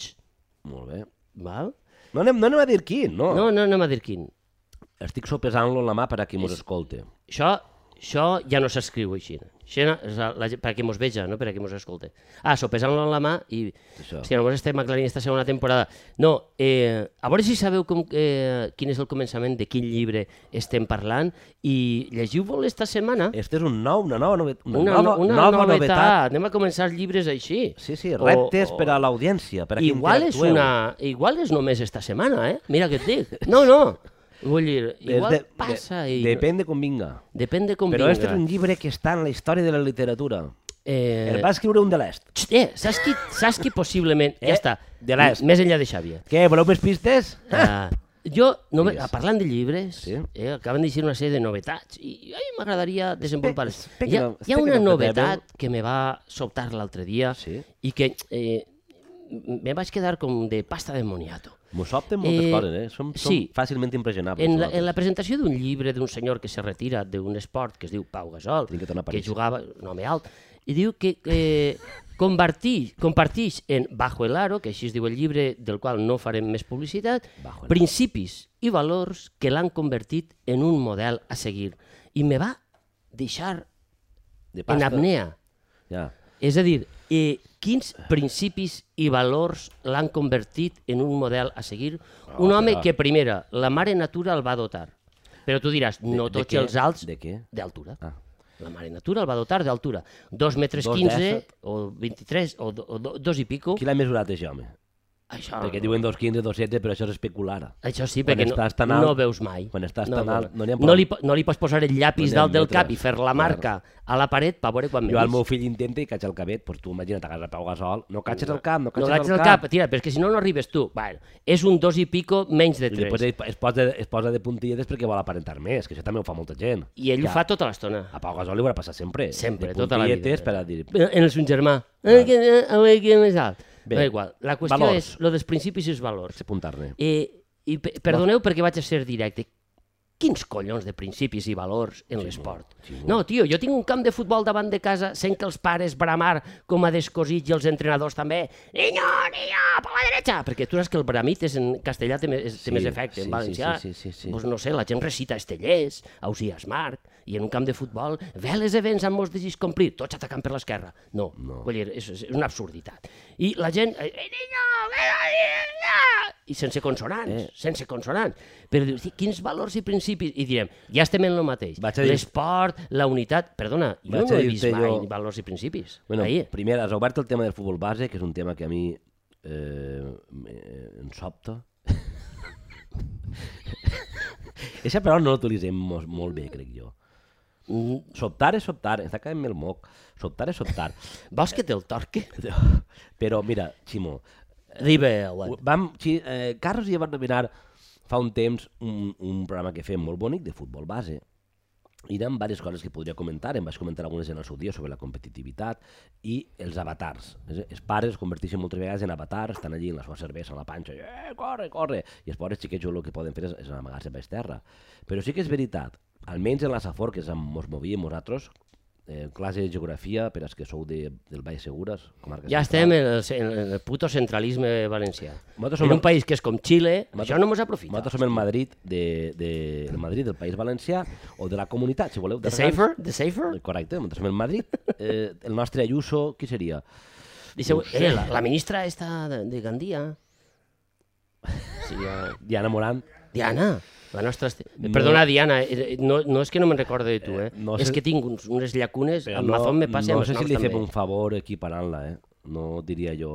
Molt bé. val? No anem, no anem a dir quin, no. No, no, anem a dir quin. Estic sopesant-lo en la mà per a qui mos escolte. Això, això ja no s'escriu així. Això no, és la, la, gent- per a qui mos veja, no per a qui mos escolte. Ah, sopesant-lo en la mà i... Això. Si només estem aclarint esta segona temporada. No, eh, a veure si sabeu com, eh, quin és el començament de quin llibre estem parlant i llegiu-vos esta setmana Este és un nou, una nova, novet, una, una, Eh, nova, una nova, novetat. novetat. Anem a començar llibres així. Sí, sí, reptes O- o- per a l'audiència, per a qui Igual és, interactueu. una, igual és només esta setmana, eh? Mira què et dic. No, no. Vull dir, És igual de- de, passa de, i... Depèn de com vinga. Depèn de com Però vinga. este és un llibre que està en la història de la literatura. Eh... Eh, El va escriure un de l'est. Xt, Eh, saps qui, saps qui possiblement... Eh, ja està. de l'est. Més enllà de (laughs) Xàbia. Què, voleu més pistes? Uh, jo, no, ah, Digues. parlant de llibres, Sí. eh, acaben de dir una sèrie de novetats i a mi m'agradaria desenvolupar les espera que hi ha, no- hi espera ha que una no te novetat que me va sobtar l'altre dia Sí. i que eh, me vaig quedar com de pasta de moniato. Mos opten moltes Eh, coses, eh? Som, som sí. fàcilment impressionables. En la, en nosaltres. la presentació d'un llibre d'un senyor que se retira d'un esport que es diu Pau Gasol, Tinc que tornar a que París. jugava, un home alt, i diu que eh, convertix, compartix en Bajo el Aro, que així es diu el llibre del qual no farem més publicitat, Bajo el Aro. principis i valors que l'han convertit en un model a seguir. I me va deixar De en pasta. apnea. Ja. És a dir, eh, quins principis i valors l'han convertit en un model a seguir? Un home clar. que, primera, la mare natura el va dotar. Però tu diràs, no de tots què? els alts... De què? D'altura. Ah. La mare natura el va dotar d'altura. Dos metres Dos 15 dèsset. o 23 o, do, o do, dos i pico. Qui l'ha mesurat, això, home? Això, Perquè diuen 2,15, 2,16, però això és especular. això sí, quan perquè no, estàs tan alt- no veus mai. quan estàs no, tan no, alt, no n'hi ha no, prou. li, po- no li pots posar el llapis No n'hi ha dalt del metres. cap i fer la Clar. marca a la paret per veure quan Jo més. al meu fill intenta i catxa el cabet, doncs tu imagina't, agarra Pau Gasol, no catxes el cap, no No catxes, l'haig del cap, tira, però és que si no, no arribes tu. Bueno, és un dos i pico menys de I tres. després es, es, posa, es posa de puntilletes perquè vol aparentar més, que això també ho fa molta gent. I ell ho Ja. fa tota l'estona. A Pau Gasol li haurà passat sempre. Sempre, de tota la vida. puntilletes per a dir... En el son germà. Eh, que, eh, a veure qui és més alt. Bé, Bé, no, igual. La qüestió valors. és lo dels principis i els valors. Vaig apuntar-ne. Eh, I pe- perdoneu perquè vaig a ser directe. Quins collons de principis i valors en l'esport? No, tio, jo tinc un camp de futbol davant de casa, sent que els pares bramar com a descosits i els entrenadors també. Niño, niño, per la derecha! Perquè tu saps que el bramit és en castellà té, me- és, té Sí, més sí, efecte, en valencià. sí, sí, sí, sí. Doncs no sé, la gent recita Estellers, Ausias Marc, i en un camp de futbol, veles events amb molts desig complir, tots atacant per l'esquerra. No, no. Vull dir, és, és una absurditat. I la gent... eh, Eh, niño, eh, eh, eh, I sense consonants, eh. sense consonants. Però dius, "Sí, quins valors i principis? I direm, ja estem en el mateix. Vaig a dir- L'esport, la unitat... Perdona, jo Vaig no a he vist dir-te mai jo- valors i principis. Bueno, Ahir. primer, has obert el tema del futbol base, que és un tema que a mi eh, me- em sobta. (laughs) Aquesta paraula no l'utilitzem molt, molt bé, crec jo. Mm, Sobtar és sobtar, està caient el moc. Sobtar és sobtar. (laughs) Vols que te'l torque? Però mira, Ximo, Arriba, Owen. vam, sí, eh, Carlos i jo vam nominar fa un temps un, un programa que fem molt bonic de futbol base. I hi ha diverses coses que podria comentar, em vaig comentar algunes en el seu dia sobre la competitivitat i els avatars. Els, els pares es converteixen moltes vegades en avatars, estan allí en la seva cervesa, en la panxa, i, eh, corre, corre, i els pobres xiquets jo el que poden fer és, és amagar-se per terra. Però sí que és veritat, almenys en la Safor, que és on mos movíem nosaltres, eh, classe de geografia, per als que sou de, del Baix Segures, comarca Ja central. estem en el, en el puto centralisme valencià. Nosaltres som En el- un país que és com Xile, Nosaltres- això no mos aprofita. Nosaltres som el Madrid, de, de, el Madrid del País Valencià o de la comunitat, si voleu. de The Regants. safer? The safer? Correcte, nosaltres som el Madrid. Eh, el nostre Ayuso, qui seria? Deixeu, No sé. eh, la, la ministra esta de, de Gandia. Sí, ja. Diana Morán. Diana, la nostra... Este... Perdona, Diana, eh, eh, no, no és que no me'n recorde de tu, eh? no és sé- que tinc uns, unes llacunes, Però amb no, Mazón me passa no amb els sé si noms li fem també. un favor equiparant-la, eh? No diria jo...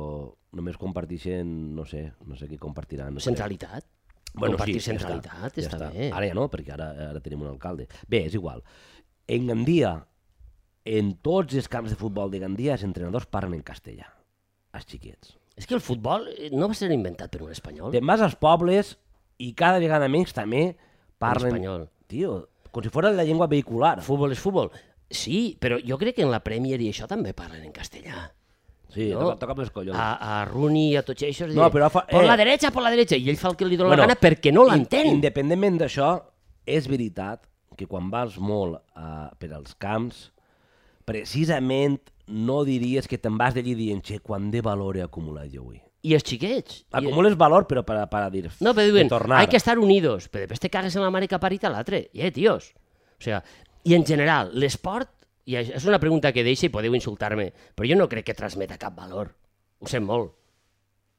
Només comparteixen, no sé, no sé què compartiran. No sé. Centralitat? Bueno, Compartir sí, centralitat, ja està, està. bé. Ara ja no, perquè ara, ara tenim un alcalde. Bé, és igual. En Gandia, en tots els camps de futbol de Gandia, els entrenadors parlen en castellà, els xiquets. És que el futbol eh, no va ser inventat per un espanyol. Te'n vas als pobles i cada vegada menys també parlen... espanyol. Tio, com si fos la llengua vehicular. Futbol és futbol. Sí, però jo crec que en la Premier i això també parlen en castellà. Sí, no? no? toca amb els collons. Ah, A, a Rooney i a tots això. No, però fa- Por eh. la dreta, por la dreta. I ell fa el que li dóna bueno, la gana perquè no l'entén. Independentment d'això, és veritat que quan vas molt a, per als camps, precisament no diries que te'n vas d'allí dient «Che, quant de valor he acumulat jo avui». I els xiquets. I- Acumules valor, però per, per dir... No, pero diuen, de tornar. hay que estar unidos, però després te cagues en la mare que ha parit a l'altre. I, eh, tios. O sea, i en general, l'esport, i això- és una pregunta que deixa i podeu insultar-me, però jo no crec que transmeta cap valor. Ho sent molt.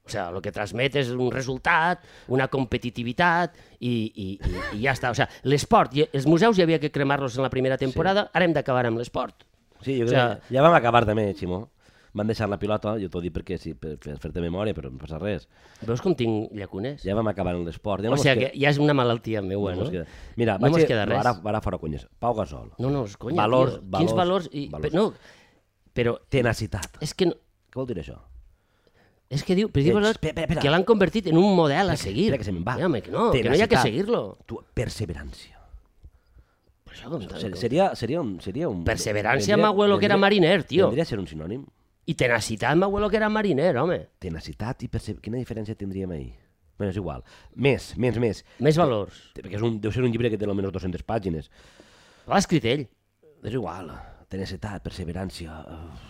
O sea, el que transmet és un resultat, una competitivitat i, i, i, i ja està. O sea, l'esport, i els museus ja havia que cremar-los en la primera temporada, sí. ara hem d'acabar amb l'esport. Sí, jo O crec sea- que ja vam acabar també, Ximó. Van deixar la pilota, jo t'ho dic perquè sí, per, per fer-te memòria, però no passa res. Veus com tinc llacunes? Ja vam acabar en l'esport. Ja o mos sigui, queda- que ja és una malaltia meua, no no? mos queda. Mira, no vaig mos a- queda no, res. Ara, ara fora conyes. Pau Gasol. No, no, és conya, Valors, tio. Quins valors, valors? I... valors. No, però Tenacitat. és que, no, Què vol dir això? és que diu, però diu Ex- valors espera, espera. que l'han convertit en un model a seguir. espera que se me'n va. Ja, home, que no, que no hi ha que Tenacitat. seguir-lo. Tu, perseverància. Per això, com, Ser, com, seria, seria un... Seria un Perseverància amb abuelo que era mariner, tio. Tindria ser un sinònim. I tenacitat, ma abuelo, que era mariner, home. Tenacitat i perseverància. Quina diferència tindríem ahir? Bé, és igual. Més, més, més. Més valors. Té- Perquè és un, deu ser un llibre que té almenys 200 pàgines. L'ha escrit ell. És igual. Tenacitat, perseverància... Uh,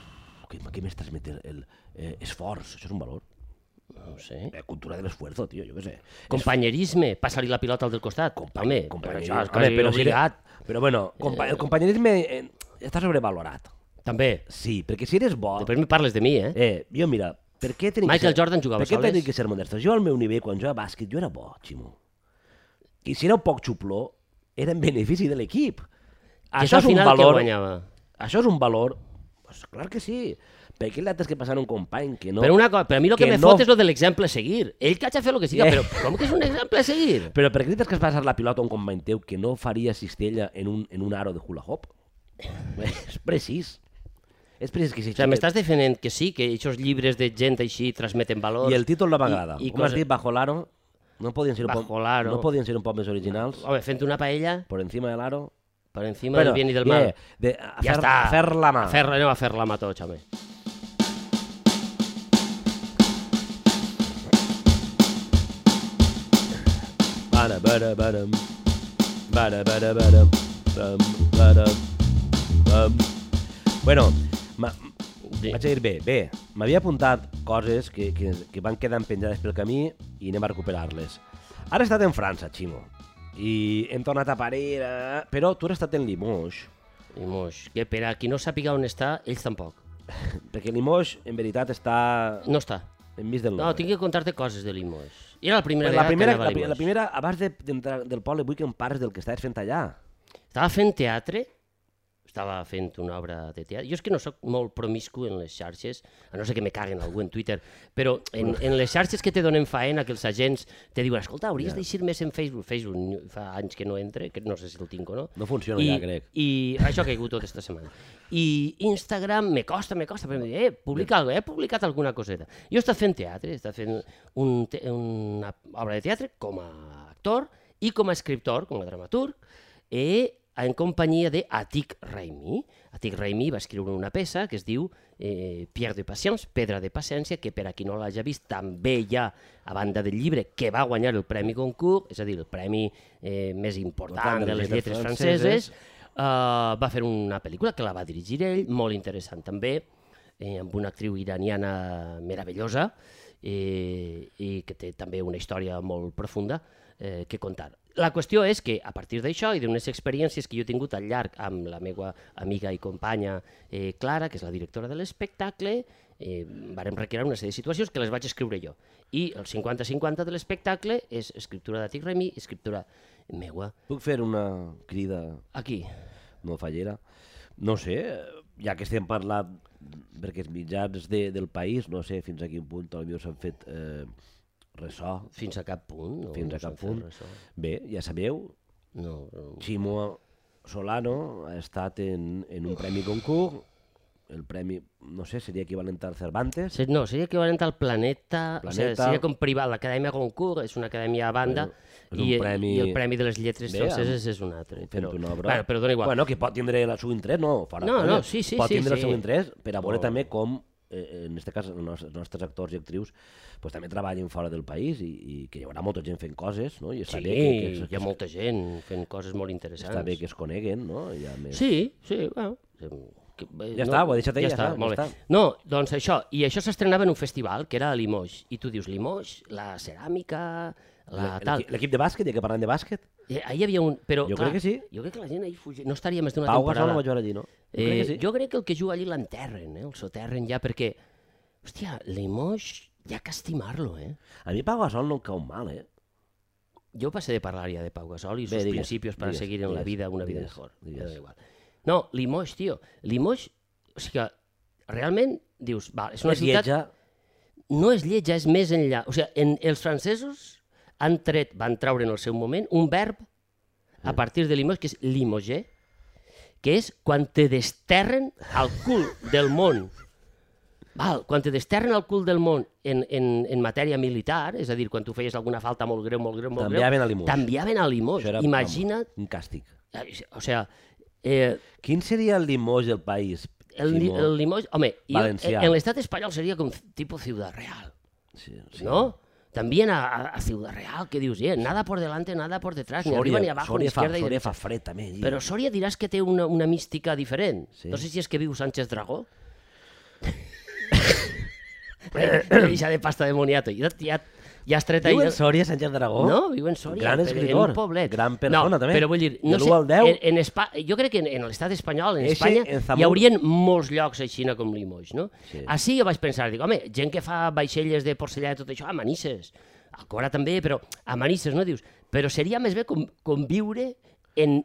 què, què més transmet el, el eh, esforç? Això és un valor. No ho sé. La Eh, cultura de l'esfuerzo, tio, jo què sé. Companyerisme, passar-li la pilota al del costat. home, però Companyerisme. això és Home, quasi però si- obligat. Però bueno, compa el companyerisme eh, està sobrevalorat. També. Sí, perquè si eres bo... Després me parles de mi, eh? Eh, jo mira, per què tenim que Michael ser, Jordan jugava per què soles? tenim que ser modestos? Jo al meu nivell, quan jo a bàsquet, jo era bo, Ximo. I si era un poc xupló, era en benefici de l'equip. Que és al final que guanyava. Això és un valor... Pues, clar que sí. Per què l'ha que passar un company que no... Però una cosa, però a mi el que, que me no- fot és lo de l'exemple a seguir. Ell que ha de fer el que siga, Eh. però com que és un exemple a seguir? Però per què li has que passar la pilota a un company teu que no faria cistella en un, en un aro de hula hoop? (laughs) és precís. És precís que si... O sigui, m'estàs defendent que sí, que aquests llibres de gent així transmeten valors... I el títol no m'agrada. I, i Com has cosa... dit, bajo l'aro, no podien ser, un Bajo poc, l'aro. no podien ser un poc més originals. Home, fent una paella Por encima del aro... per encima bueno, del bien i del mal. yeah, de, a fer, ja està. a fer la mà. A fer, anem a fer la mà tots, home. Bara, bara, bara, bara, bara, bara, bam, bara, bam. Bueno, ma, Sí. Vaig a dir, bé, bé, m'havia apuntat coses que, que, que van quedar penjades pel camí i anem a recuperar-les. Ara he estat en França, Ximo, i hem tornat a parir, eh, però tu has estat en Limoges, (laughs) I moix, que per a qui no sàpiga on està, ells tampoc. perquè Limoges, en veritat, està No està. enmig del No, Louvre. tinc que contar-te coses de Limoges. I era la primera Però la vegada primera, que la, anava a pri- la Limoges. primera, abans de- d'entrar de, del poble, vull que em parles del que estàs fent allà. Estava fent teatre, estava fent una obra de teatre. Jo és que no sóc molt promiscu en les xarxes, a no ser que me caguen algú en Twitter, però en, en les xarxes que te donen faena, que els agents te diuen escolta, hauries d'eixir més en Facebook. Facebook ni- fa anys que no entre, que no sé si el tinc o no. No funciona ja, crec. I això ha caigut tota esta setmana. I Instagram me costa, me costa, però em diu, eh, publica alguna he publicat alguna coseta. Jo he estat fent teatre, he estat fent un te una obra de teatre com a actor i com a escriptor, com a dramaturg, eh, en companyia de Atik Raimi. Atik Raimi va escriure una peça que es diu eh, Pierre de Patience, Pedra de Paciència, que per a qui no l'hagi vist també hi ha, a banda del llibre, que va guanyar el Premi Goncourt, és a dir, el premi eh, més important de les lletres franceses, Uh, va fer una pel·lícula que la va dirigir ell, molt interessant també, eh, amb una actriu iraniana meravellosa eh, i que té també una història molt profunda eh, que contar. La qüestió és que a partir d'això i d'unes experiències que jo he tingut al llarg amb la meva amiga i companya eh, Clara, que és la directora de l'espectacle, eh, vàrem recrear una sèrie de situacions que les vaig escriure jo. I el 50-50 de l'espectacle és escriptura d'Atic Remy, escriptura meua. Puc fer una crida Aquí, no fallera? No sé, eh, ja que estem parlant perquè els mitjans de, del país, no sé fins a quin punt potser s'han fet eh, ressò. Fins a cap punt. No, Fins a no s'han cap fet punt. ressò. Bé, ja sabeu, No, no. Ximo Solano ha estat en, en un premi concurs, el premi, no sé, seria equivalent al Cervantes, Se- no, seria equivalent al Planeta, o sigui, Planeta. seria com privat, l'Acadèmia Goncourt és una acadèmia a banda és i, un premi- i el Premi de les Lletres Bé, Franceses és un altre. fent Però, una obra. Bueno, però dona igual. Bueno, que pot tindre el seu interès, no? Fora No, conya. no, sí, sí, Pot sí, tindre el sí. Oh. seu interès per a veure No. també com, eh, en aquest cas, els nos- els nostres actors i actrius pues, també treballen fora del país i, i que hi haurà molta gent fent coses, no? I està sí, bé que, que, es- hi ha molta gent fent coses molt interessants. està bé que es coneguen, no? Hi ha més... Sí, sí, bueno. Que, eh, Ja està, ho he deixat ahí, ja, ja està, està, molt ja bé. No, doncs això, i això s'estrenava en un festival que era a Limoges, i tu dius Limoges, la ceràmica, la L'equi- tal... L'equip de bàsquet, ja que parlem de bàsquet, Eh, ahir hi havia un... Però, Jo clar, crec que sí. Jo crec que la gent ahir fugia... No estaria més d'una Pau temporada. Gasol no va jugar allí, no? Jo crec Eh, que sí. jo crec que el que juga allí l'enterren, eh? el soterren ja, perquè, hòstia, Limoges, hi ha que estimar-lo, eh? A mi Pau Gasol no em cau mal, eh? Jo passé de parlar ja de Pau Gasol i Bé, sus digues, principios para digues, seguir en la digues, vida una vida digues, mejor. digues. Però da igual. No, Limoges, tio, Limoges, o sigui, realment, dius, va, és una És ciutat... lletja, no és lletja, és més enllà. O sigui, en, els francesos han tret, van traure en el seu moment un verb Mm. a partir de Limoges, que és limoger, que és quan te desterren al cul del món. Val, quan te desterren al cul del món en, en, en matèria militar, és a dir, quan tu feies alguna falta molt greu, molt greu, molt T'enviaven greu, a Limoges. t'enviaven a Limoges. Això era- Imagina't, un càstig. o sigui, eh, Quin seria el Limoges del país? el, li- Simó? el Limoges... Home, jo, Valencià. en l'estat espanyol seria com tipus Ciudad Real. Sí, sí. Sí. ¿no? También a, a- a Ciudad Real, que dius, eh, nada por delante, nada por detrás, ni arriba ni abajo, ni Soria, fa, izquierda ni Soria derecha. fa fred, també. allí. Però Soria diràs que té una, una mística diferent. Sí. Sí. No sé si és que viu (laughs) Sánchez Dragó. Reixa de pasta de moniato. Ja, ja, ja has tret Viu ahir... en Sòria, Sánchez Dragó? No, viu en Sòria. Oh, Gran però escriptor, En un poblet. gran persona, no, també. Però vull dir, De no l'u sé, al deu. en, en Espa... jo crec que en, en l'estat espanyol, en Eixe, Espanya, en Zamora. hi haurien molts llocs a Xina com Limoges, no? Sí. Sí. Així jo vaig pensar, dic, home, gent que fa vaixelles de porcellana i tot això, a Manises, a Cora també, però a Manises, no dius? Però seria més bé com, conviure en,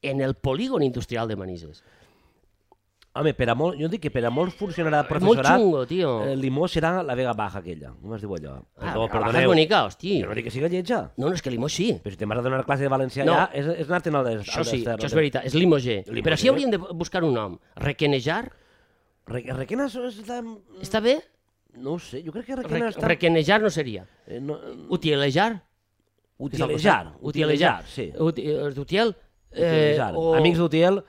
en el polígon industrial de Manises. Home, per a molt, jo dic que per a molts funcionarà de És molt professorat. xungo, tio. Eh, Limó serà la Vega Baja, aquella. Com es diu allò? ah, perdoneu. bonica, hosti. Jo no dic que siga lletja. No, no, és que Limoges sí. Però si te'n vas a donar classe de valencià No. allà, és, és anar-te'n a les... Això sí, això és veritat, és Limoger. Limoger. Però sí hauríem de buscar un nom. Requenejar? Requena està... Està bé? No ho sé, jo crec que Re Requena està... Requenejar no seria. eh, no, Utilejar? utilitzar. Utilejar, sí. Uti els d'Utiel? Eh, Utilitzar. o... Amics d'Utiel,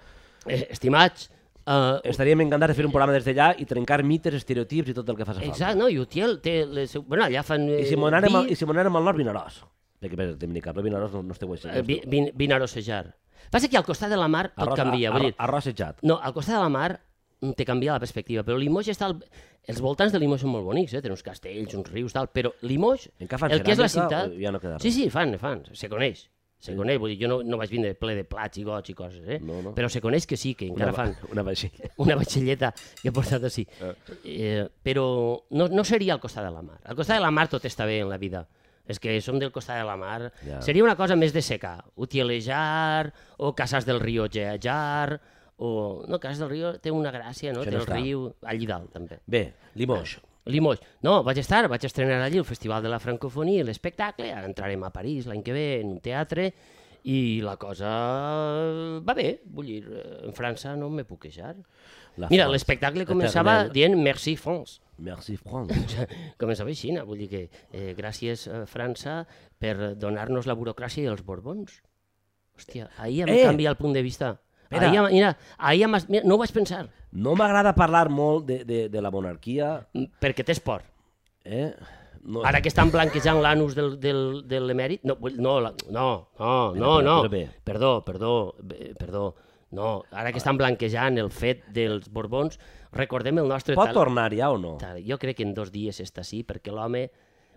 Eh, estimats. Eh, estaríem encantats de fer un programa des d'allà i trencar mites, estereotips i tot el que faci falta. exacte, no? I Utiel té... Les... seu- Bueno, allà fan... Eh, I si m'ho anàrem, al- vi- i si m'ho anàrem al nord, Vinaròs. Perquè per Dominicable, Vinaròs no, no esteu així. eh, vi- vin- Vinarossejar. Passa que al costat de la mar tot canvia. Vull dir, Arròs setjat. no, al costat de la mar te canvia la perspectiva. Però Limoges està... Al... Els voltants de Limoges són molt bonics, eh? Tenen uns castells, uns rius, tal, però Limoges, En què fan el que és la ceràmica ciutat... o ja no queda Sí, sí, fan, fan, se coneix. Se coneix, vull dir, jo no, no vaig vindre ple de plats i gots i coses, eh? No, no. Però se coneix que sí, que Una, encara ba- fan una vaixella. una batxelleta que he portat així. Eh, però no, no seria al costat de la mar. Al costat de la mar tot està bé en la vida. És que som del costat de la mar. Ja. Seria una cosa més de secar. Utilejar, o Casas del Rio Gejar, o... No, Casas del Rio té una gràcia, no? Això Té no el està. riu allí dalt, també. Bé, Limoges. Limoges. No, vaig estar, vaig estrenar allí el Festival de la Francofonia i l'espectacle, ara entrarem a París l'any que ve en un teatre, i la cosa va bé, vull dir, eh, en França no me puc queixar. La Mira, France. l'espectacle començava Eternel. dient Merci France. (laughs) Merci, France. Començava així, no? vull dir que eh, gràcies eh, França per donar-nos la burocràcia dels Borbons. Hòstia, ahir em Eh! canvia el punt de vista. Espera. Ahir, em- mira, ahir em, mira, no ho vaig pensar, No m'agrada parlar molt de, de, de la monarquia, m- perquè tens por. eh? No, Ara que estan blanquejant l'anus del, del, de l'emèrit... No, vull- no, la- no, no, no, Espera, no. espera, espera. Perdó, perdó, eh, perdó. No, ara que estan blanquejant el fet dels Borbons, recordem el nostre Pot talent. tornar ja o no? Jo crec que en dos dies està així, perquè l'home...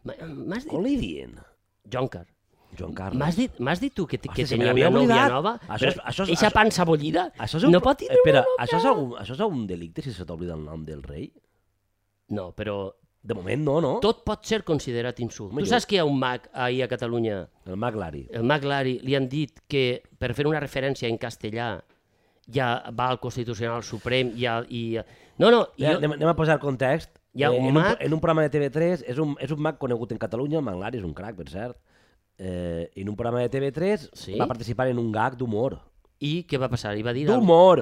Ma- M'has dit... Com li dient? Joncar. Joan Carles. M'has dit, m'has dit tu que, que Hòstia, se me tenia n'havia una nòvia oblidat. nova? Això Però és- això és- eixa això- pansa bullida? Això és un... No pot tindre Espera, una això és, algun, això és algun delicte si se t'oblida el nom del rei? No, però De moment no, no? tot pot ser considerat insult. Home, Tu jo- saps que hi ha un mag ahir a Catalunya El Maglari. el Mac Lari li han dit que per fer una referència en castellà ja va al Constitucional Suprem i... A, i no, no, i Jo... jo, Anem, anem a posar context. Hi Eh, ha en, un un, mag- en un programa de TV3, és un, és un mag conegut en Catalunya, el Maglari és un crac, per cert, eh, en un programa de TV3 Sí? va participar en un gag d'humor. i què va passar? I va dir... el- D'humor!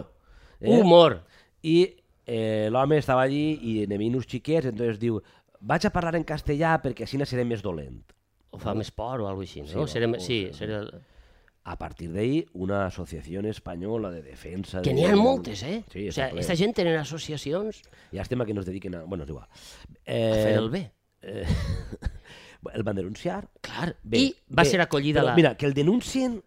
Eh? Humor. I eh, l'home estava allí i anem uns xiquets, entonces diu vaig a parlar en castellà perquè així seré més dolent. O fa més por o alguna cosa així, Sí, no? va, Sí, serem, o sí, serem- serem... A partir d'ahí, una associació espanyola de defensa... Que de- n'hi ha moltes, eh? Sí, o sigui, aquesta gent tenen associacions Llàstima que no es dediquen a... Bueno, és igual. a Eh, fer el bé. Eh, (laughs) el van denunciar. Clar, Bé, i va bé, ser acollida però la... Mira, que el denuncien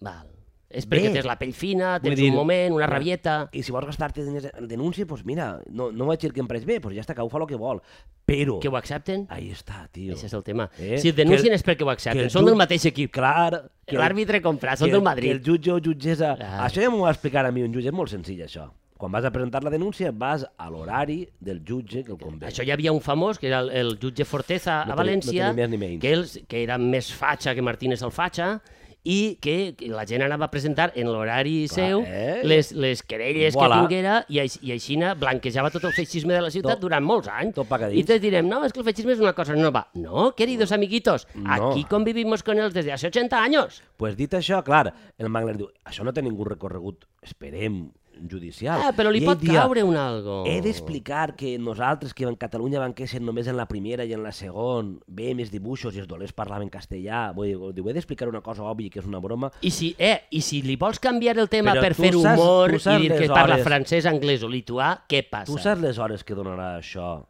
Val. És perquè Bé. tens la pell fina, Vull tens dir- un moment, una rabieta... i si vols gastar-te diners en el denunci, doncs mira, no, no vaig dir que em pareix bé, doncs ja està, que ho fa el que vol. Però, Que ho accepten? ahí està, tio. Aquest és el tema. Eh? Que Si et el- denuncien és perquè ho que accepten. el Són jutge- del mateix equip. Clar, que el- L'àrbitre comprat, que són el- del Madrid. Que el jutge o jutgessa... Ah. Això ja m'ho va explicar a mi un jutge, és molt senzill, això. Quan vas a presentar la denúncia, vas a l'horari del jutge que el convé. Això hi havia un famós, que era el, el jutge Forteza No a teni- València, no tenia més ni menys. que, els, que era més fatxa que Martínez el fatxa, i que que la gent anava a presentar en l'horari Clar, seu eh? les, les querelles Voilà. que tinguera i, aix- i aixina blanquejava tot el feixisme de la ciutat Tot- durant molts anys. tot pagadís. I tots direm, no, és que el feixisme és una cosa nova. No, queridos amiguitos, No. aquí convivimos con ellos desde hace 80 años. pues dit això, clar, el Mangler diu, això no té ningú recorregut, esperem, judicial. Ah, però li I pot ell dia, caure un algo. He d'explicar que nosaltres, que en Catalunya van créixer només en la primera i en la segona, veiem els dibuixos i els dolents parlaven castellà, vull dir, diu, he d'explicar una cosa òbvia que és una broma, I si, eh, I si li vols canviar el tema Però per tu fer saps- humor tu i saps dir que les parla hores. francès, anglès o lituà, què passa? Tu saps les hores que donarà això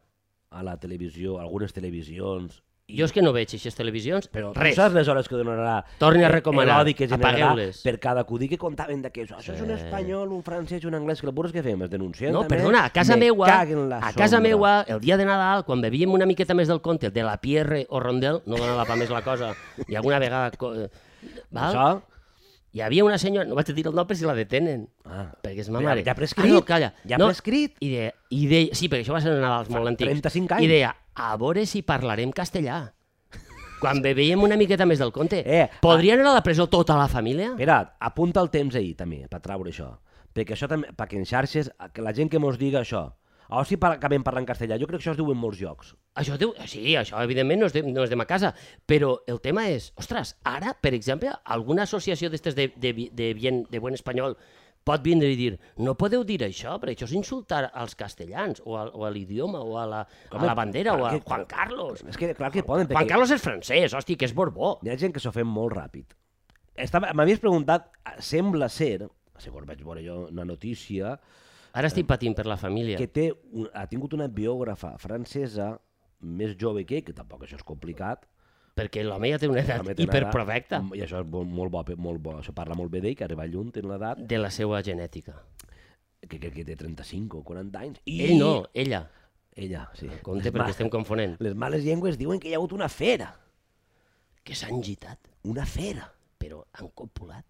a la televisió, a algunes televisions? Jo és que no veig aquestes televisions, però res. Tu saps les hores que donarà Torni a eh, recomanar, l'odi que generarà apagueu-les. per cada acudí que contaven d'aquests. Això és un espanyol, un francès i un anglès, que el burro és que fem, es denuncien No, també. perdona, a casa Me meua, caguen la a casa sombra. meua, el dia de Nadal, quan bevíem una miqueta més del compte de la Pierre o Rondel, no donava pa més la cosa, i alguna vegada... co- eh, Val? Això? Hi havia una senyora, no vaig a dir el nom per si la detenen, Ah. perquè és ma Ja- mare. ja prescrit, Ah, no, calla. ja no, prescrit. I deia, i deia, sí, perquè això va ser en Nadals molt antics. 35 anys. I deia, a veure si parlarem castellà. Quan bevíem una miqueta més del compte. Eh, Podria anar a la presó tota la família? Espera, apunta el temps ahir, també, per traure això. Perquè això també, perquè en xarxes, que la gent que mos diga això, o si par acabem parlant castellà, jo crec que això es diu en molts llocs. Això diu, sí, això evidentment no és, de, no és de ma casa, però el tema és, ostres, ara, per exemple, alguna associació d'estes de, de, bi- de, bien, de bon espanyol pot vindre i dir, no podeu dir això, perquè això és insultar als castellans, o, al, o a l'idioma, o a la, Home, a la bandera, o a perquè- Juan Carlos. És que clar que poden, Juan perquè Carlos és francès, hòstia, que és Borbó. Hi ha gent que s'ho fem molt ràpid. Estava- M'havies preguntat, sembla ser, segons vaig veure jo una notícia, Ara estic patint per la família. que té un, ha tingut una biògrafa francesa més jove que ell, que tampoc això és complicat. Perquè l'home ja té una edat també té una edat- hiperprofecta I això és bo- molt bo, molt bo, això parla molt bé d'ell, que arriba lluny en l'edat. de la seva genètica. que crec que té 35 o 40 anys, i... Ell no, ella. Ella, sí. Compte Les perquè ma- estem confonent. Les males llengües diuen que hi ha hagut una fera. Que s'han gitat, Una fera. però han copulat.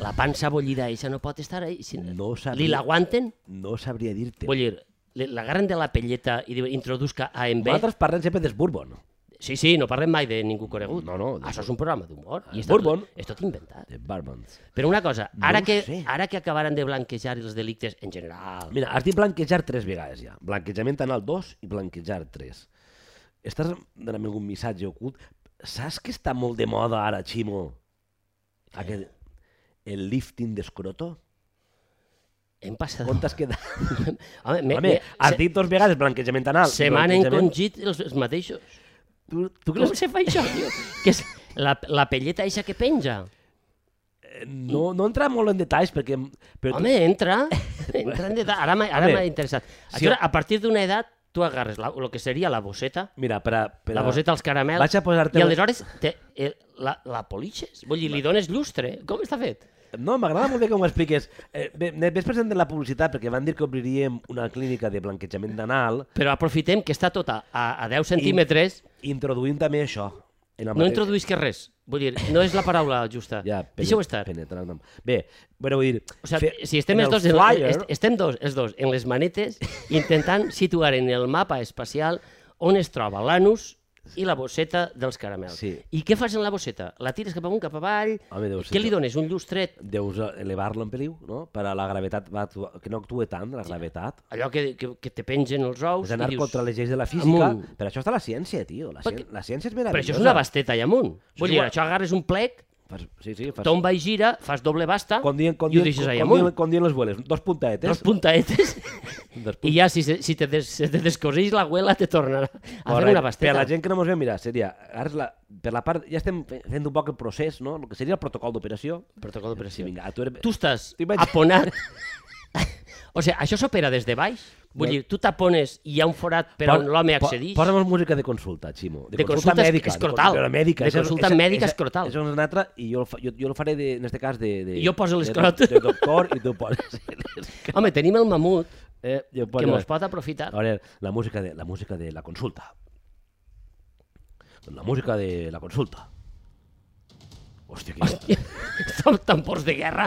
La pansa bollida, eixa no pot estar ahí. Si No sabia- Li l'aguanten? No sabria dir-te. Vull dir, li- l'agarren de la pelleta i diuen, introduzca A en B. Nosaltres parlem sempre dels Bourbon. Sí, sí, no parlem mai de ningú conegut. No, no, de- Això és un programa d'humor. I Ah, és tot- Bourbon. És tot inventat. De Bourbons. Però una cosa, No ara, ho que, sé. ara que acabaran de blanquejar els delictes en general... Mira, has dit blanquejar tres vegades ja. Blanquejament anal dos i blanquejar tres. Estàs donant algun missatge ocult? Saps que està molt de moda ara, Ximo? Aquest, el lifting d'escroto? Hem passat... On t'has quedat? Home, (laughs) me, Home, me, has se, dit dos vegades blanquejament anal. se m'han blanquejament- encongit els, els (laughs) mateixos. Tu, tu Com creus se fa això, tio? Que és la, la pelleta eixa que penja. eh, No, no entra molt en detalls perquè... Però Home, (laughs) entra. entra en detall. Ara m'ha ara Home, m'ha interessat. si- Això, a partir d'una edat, tu agarres la, el que seria la bosseta, tu, mira, per a, per la a- bosseta als caramels, Vaig a posar-te... i aleshores te, eh, la, la polixes. Vull dir, li dones llustre. Com està fet? No, m'agrada molt bé com ho expliques. Eh, bé, després presentem la publicitat perquè van dir que obriríem una clínica de blanquejament d'anal Però aprofitem que està tota a, a 10 centímetres, introduint també això. En el no mateix- introduïsques res. Vull dir, no és la paraula justa. Ja, pene- Deixa-ho estar. penetrar el nom. Bé, però vull dir... O sigui, fe- si estem en els el dos, en, flyer, est, estem dos, els dos en les manetes (laughs) intentant situar en el mapa espacial on es troba l'anus i la bosseta dels caramels. Sí. I què fas en la bosseta? La tires cap amunt, cap avall? Home, deu ser què li jo. dones? Un llustret? Deus elevar-lo en perill, no? Per a la gravetat, va actuar, que no actue tant, la gravetat. Allò que, que, que te pengen els ous? És anar i dius, contra les lleis de la física. Amunt. Per això està la ciència, tio. La, cien... Perquè- la ciència és Però meravellosa. això és una basteta allà amunt. Vull dir, igual. això agarres un plec, Fas... Sí, sí, fas... tomba i gira, fas doble basta Com dient, com i ho dient, deixes allà com, dient, amunt. com dient les vueles, dos puntaetes. Dos puntaetes Dos (laughs) i ja si, se- si te, des, se te descoseix la güela te tornarà a fer Correcte. una basteta. Per a la gent que no mos ve, mira, seria... Ara és la, per la part, ja estem fe- fent un poc el procés, no? El que seria el protocol d'operació. Protocol d'operació. Sí, vinga, tu eres... tu estàs Tu imagina- aponat... o sigui, això s'opera des de baix? Vull No. dir, tu t'apones i hi ha un forat per on l'home accedeix? Po, posa'm música de consulta, Ximo. De consulta es- mèdica. escrotal. De, con- però mèdica. De Això és- consulta això- mèdica això- escrotal. Això és una altra i jo el, fa, jo, jo el faré, de, en aquest cas, de... de I jo poso l'escrot. De, de doctor i tu poses... Home, tenim el mamut Eh, (laughs) jo que poso... mos pot aprofitar. A veure, la música de la, música de la consulta. Doncs La música de la consulta. Hòstia, que... Som tan pocs de guerra.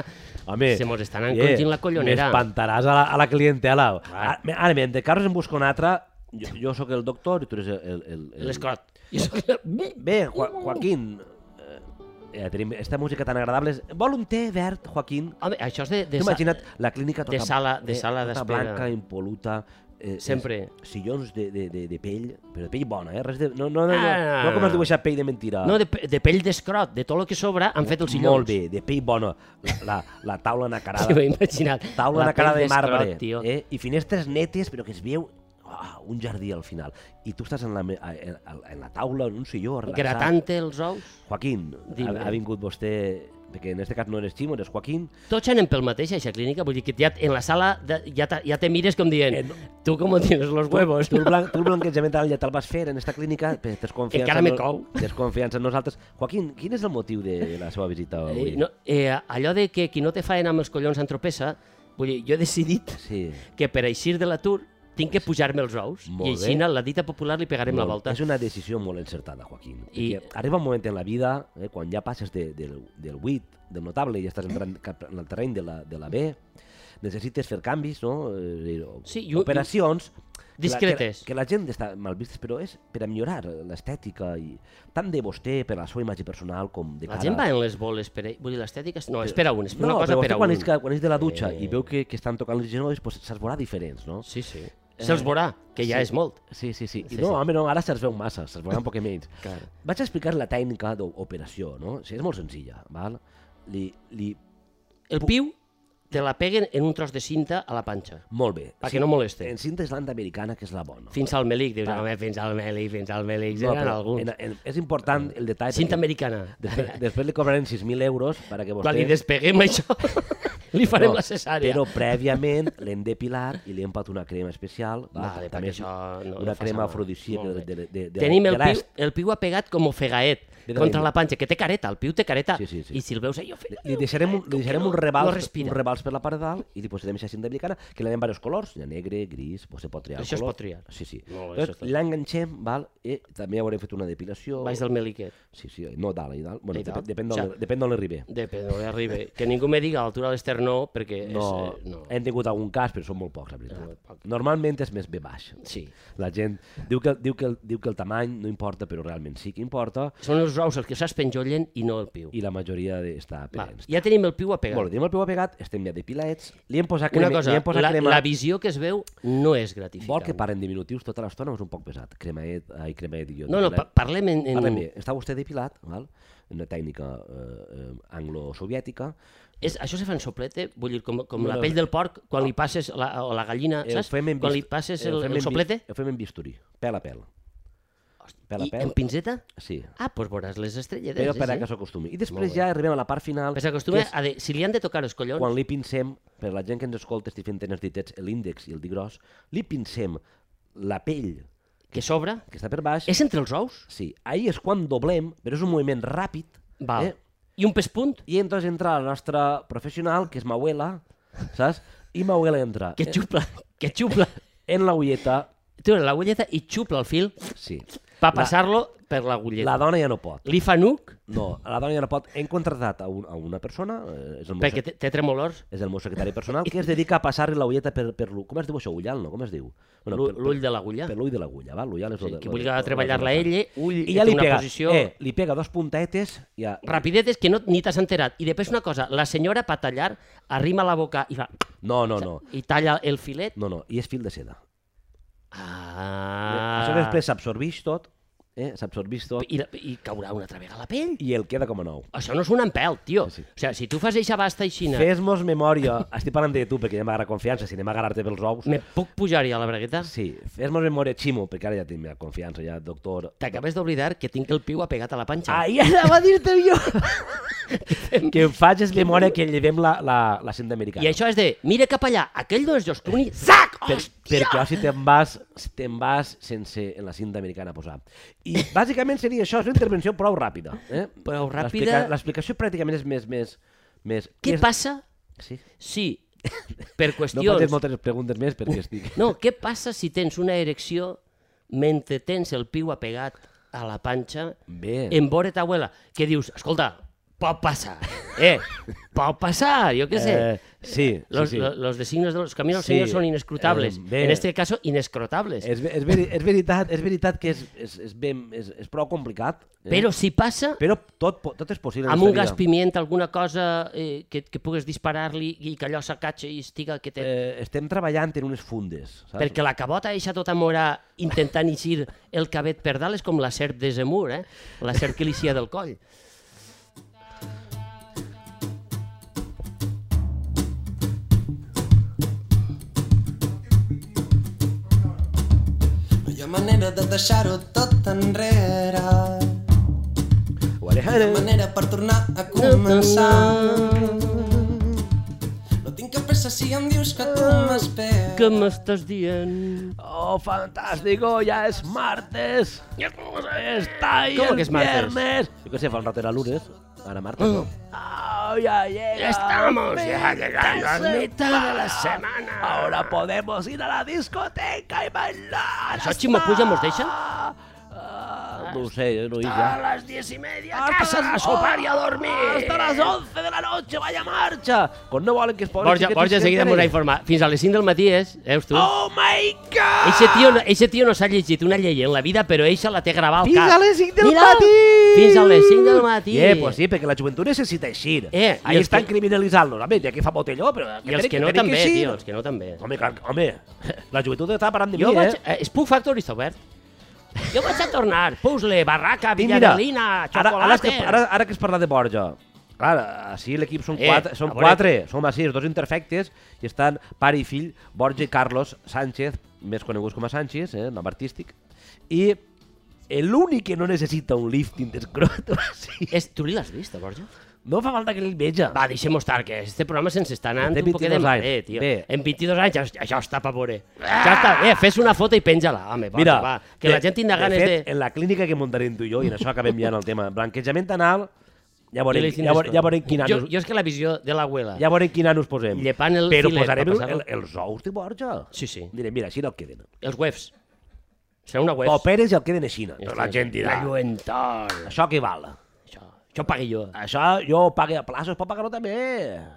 Home, Se mos estan eh, encongint la collonera. M'espantaràs a, la, a la clientela. Clar. Ara, me- ara, mentre Carlos em busca un altre, jo, jo sóc el doctor i tu eres el... el, el, el... L'escrot. I això- Bé, jo Joaquín, eh, ja tenim esta música tan agradable. és- Vol un té verd, Joaquín? Home, això és de... de T'ho imagina't la clínica tota, de sala- de sala tota d'espera. blanca, impoluta, eh, Sempre. és- Sillons de, de, de, de pell, però de pell bona, eh? Res de, no, no, no, Ah. no, no com es diu aquesta pell de mentira. No, de, pe- de pell d'escrot, de tot el que sobra han fet els sillons. Molt bé, de pell bona. La, la, la taula nacarada. (laughs) Sí, m'he imaginat. Taula La de cara pell de d'escrot, marbre, tio. eh? I finestres netes, però que es veu ah, un jardí al final. I tu estàs en la, me- a- en, en la taula, en un silló, relaxat. Gratant-te els ous. Joaquín, Dime. ha, ha vingut vostè, perquè en este cas no eres Ximo, eres Joaquín. Tots anem pel mateix, a aquesta clínica. Vull dir que ja, en la sala de, ja, te, ja te mires com dient Eh, no. tu com tienes los huevos. (laughs) Tu, el blan, tu el blanquejament ara ja te'l vas fer en esta clínica, per desconfiança, Encara en me no- cou. desconfiança en nosaltres. Joaquín, quin és el motiu de la seva visita avui? Eh, no, eh, allò de que qui no te faen amb els collons entropessa, vull dir, jo he decidit Sí. que per eixir de l'atur tinc que pujar-me els ous Molt i bé. així la dita popular li pegarem la Molt- volta. És una decisió molt encertada, Joaquín. I- I... Arriba un moment en la vida, eh, quan ja passes de, del, del 8, del notable, i ja estàs entrant cap en el terreny de la, de la B, necessites fer canvis, no? Eh, dir, o- Sí, i un- operacions... que la- Discretes. Que, que la gent està mal vista, però és per a millorar l'estètica, i tant de vostè per a la seva imatge personal com de La cara... gent va en les boles per... ell. Vull dir, l'estètica... és- No, espera un, espera no, una cosa però per a vostè quan un. és, que- quan és de la dutxa Eh. i veu que, que estan tocant els genolls, doncs se'ls veurà diferents, no? Sí, sí. Se'ls veurà, que ja Eh, sí. és molt. Sí, sí, sí. I Sí, no, sí. home, no, ara se'ls veu massa, se'ls veurà un poc menys. (laughs) Clar. Vaig a explicar la tècnica d'operació, no? O sigui, és molt senzilla, val? Li, li... El piu te la peguen en un tros de cinta a la panxa, Molt bé. perquè no moleste. En cinta és americana, que és la bona. Fins al melic, dius, home, fins al melic, fins al melic, No, eren però alguns. en, en, és important el detall. Cinta perquè americana. Després, després li cobrarem 6.000 euros perquè vostè... Quan li despeguem això, (laughs) Li farem No, la cesària. eh? Però prèviament l'hem depilat i li hem pat una crema especial. va, Vale, també perquè això no- no una fa crema mal. afrodisíaca Molt de, bé. de, de, de, de, Tenim de el piu, l'est. el piu apegat com ofegaet Ve de contra l'Índia. la panxa, que té careta, el piu té careta. Sí, sí, sí. I si el veus allò... fent- Li deixarem, un, li deixarem un, No rebals, respira. un rebals per la part de dalt i li posarem aquesta cinta americana, que l'anem diversos colors, hi ha negre, gris, pues se pot triar el Això es color. pot triar. Sí, sí. Molt bé, Llavors, això està. L'enganxem, val? I també haurem fet una depilació. Baix del meliquet. Sí, sí, no dalt, i dalt. Bueno, I dalt. depèn, depèn, O d'on sigui, li- depèn d'on arribi. Depèn d'on arribi. eh, Que ningú me diga a l'altura de l'esternó, perquè No, és... Eh, no. hem tingut algun cas, però són molt pocs, la veritat. Molt poc. Normalment és més bé baix. Sí. La gent diu que, diu, que el, diu que el tamany no importa, però realment sí que importa, Són els ous els que s'espenjollen i no el piu. i la majoria de, està Va, pendents. ja tenim el piu Bueno, apegat. tenim el peu apegat, estem ja depilats, li hem posat crema, Una cosa, li hem posat la, crema... la visió que es veu no és gratificant. Vol que paren diminutius tota l'estona o és un poc pesat? Cremaet, ai, cremaet i jo. No, no, pa depilat. parlem en... en... Parlem bé. Està vostè depilat, val? una tècnica eh, eh, anglo-soviètica. És, això se fa en soplete, vull dir, com, com No, la no, pell no. del porc, quan li passes la, o la gallina, Eh, ho saps? fem en Quan li bist- passes eh, ho el, fem el en soplete, bist- Ho fem en bisturí, pèl a pèl. Pèl a i pèl. en pinzeta, Sí, ah, doncs veuràs les estrelletes. però eh, per a sí. que s'acostumi. I Molt després bé. ja arribem a la part final. Pues s'acostuma que és a doncs- de... Si li han de tocar els collons... Quan li pincem, per la gent que ens escolta, estic fent tenes ditets, l'índex i el dit gros, li pincem la pell que s'obre, que està per baix. és entre els ous, Sí, ahir és quan doblem, però és un moviment ràpid. val. Eh? i un pespunt, I entonces entra la nostra professional, que és Mauela, saps? I Mauela entra que xupla, que xupla, en la ulleta, tu la l'agulleta i xupla el fil sí. per passar-lo per l'agulleta. La dona ja no pot. Li fa nuc, No, la dona ja no pot. Hem contractat a, un, a una persona, eh, és el, meu, perquè sec- té, té tremolors, és el meu (laughs) secretari personal, que es dedica a passar-li la ulleta per, per l'ull. Com es diu això? Ullal, no? Com es diu? Bueno, l'u- per- per- l'ull de l'agulla. Per l'ull de l'agulla, va? L'ullal és Sí, lo de- que lo de- vulgui lo de- treballar-la ella, ull I ja li té una pega, posició... eh, li pega dos puntaites i ja... Rapidetes que no, ni t'has enterat. I després una cosa, la senyora per tallar arrima la boca i, va, No, no, no. i talla el filet. No, no, i és fil de seda. Eh, Ah. Això després s'absorbix tot, eh? s'absorbix tot I, I caurà una altra vegada la pell. i el queda com a nou. Això no és un empelt, tio. Sí, sí. O sigui, si tu fas eixa basta i xina, Fes-mos (laughs) memòria, estic parlant de tu perquè ja m'agrada confiança, si anem a agarrar-te pels ous. me puc pujar-hi a la bragueta? Sí, fes-mos memòria, Ximo, perquè ara ja tinc meva confiança, ja, doctor. T'acabes d'oblidar que tinc el piu apegat Ah, a la panxa. Ahir anava a dir-te jo! (laughs) que em faig és memòria que llevem la, la, la cinta americana. I això és de, mira cap allà, aquell no és Josh Clooney, sac! Per, Hòstia! perquè ara si te'n vas, si te'n vas sense en la cinta americana a posar. (laughs) I bàsicament seria això, és una intervenció prou ràpida. Eh? Prou L'explica- ràpida. L'explicació pràcticament és més... més, més Què és- passa Sí. si, (laughs) per No qüestions... facis moltes preguntes més perquè estic... No, què passa si tens una erecció mentre tens el piu apegat a la panxa Bé. en vore ta abuela? Que dius, escolta, pot passar, eh, pot passar, jo què sé. Eh, sí, los, sí, sí. lo- los designios de los caminos Sí, del señor son inescrutables. eh, bé. en este caso, inescrotables. És, ve- és, veri, és, veritat, és veritat que és, és, és, ben, és, és prou complicat. Eh? Però si passa, però tot, po- tot és possible. en amb un esta gas vida. pimienta, alguna cosa eh, que, que pugues disparar-li i que allò s'acatxa i estiga que té... Eh, estem treballant en unes fundes. Saps? Perquè la cabota eixa tota mora intentant eixir el cabet per dalt és com la serp de Zemur, eh? La serp que li cia del coll. No hi ha manera de deixar-ho tot enrere. No hi ha manera per tornar a començar. No tinc cap pressa si em dius que tu m'esperes. Què m'estàs dient? Oh, fantástico, ya es martes. Está ahí ¿Cómo el que es martes? Ah. viernes. Yo qué sé, fa un rato era lunes. Ahora martes, ¿no? Oh, ya llega. Estamos ya llegando a Pizza. mitad de la semana. Ahora podemos ir a la discoteca y bailar. Això, Ximo Puig, em ho deixa? Ah, no ho sé, jo no hi A ja. les 10 i media a casa a sopar i a dormir. Hasta las 11 de la noche, vaya marcha. Con no volen que es posin... Borja, Borja seguida m'ho informar. Fins a les 5 del matí és, eh, veus tu? Oh my god! Eixe tio, no, eixe tio no s'ha llegit una llei en la vida, però eixa la té gravada al Fins cap. a les 5 del Mira, matí! Fins a les 5 del matí. Eh, pues sí, perquè la joventut necessita eixir. Eh, i Ahí els estan que- criminalitzant-los. Home, ja que fa botelló, però... I els que no també, tio, els que no també. Home, clar, home, la joventut està parant de Jo mi, vaig... eh? Eh, es puc factoris obert? Jo vaig a tornar. Puzzle, barraca, I Villa Berlina, ara, ara, que, xocolata... ara, ara que es parla de Borja, clar, així l'equip són, Eh, quatre, a són veure. quatre, som a sis, dos imperfectes, i estan pare i fill, Borja i Carlos Sánchez, més coneguts com a Sánchez, eh, nom artístic, i l'únic que no necessita un lifting d'escrot, (laughs) o sigui, És, tu li l'has vist, Borja? No fa falta que el veja. Va, deixem-ho estar, que este programa se'ns està anant Té un poquet de 22 mare, anys. tio. Bé. Ah! En 22 anys ja, ja està pa veure. Ja està bé, fes una foto i penja-la, home, va, Mira, doncs va. Que la gent tindrà de ganes fet, de... En la clínica que muntarem tu i jo, i en això acabem ja en el tema, blanquejament anal, ja veurem, Jo li ja veurem, ja veurem quin jo, anus... jo és que la visió de l'abuela. Ja veurem quin anus posem. Llepant el Però filet posarem per el, el, passar-lo. els ous de borja. Sí, sí. Direm, mira, així no el queden. Els webs. Serà una web. Pues... Operes i el queden així. no. Hòstia, Però la gent dirà, La lluentor. això què val? Això, això pagui jo. Això jo ho pague a plaça, es pot pagar-ho també.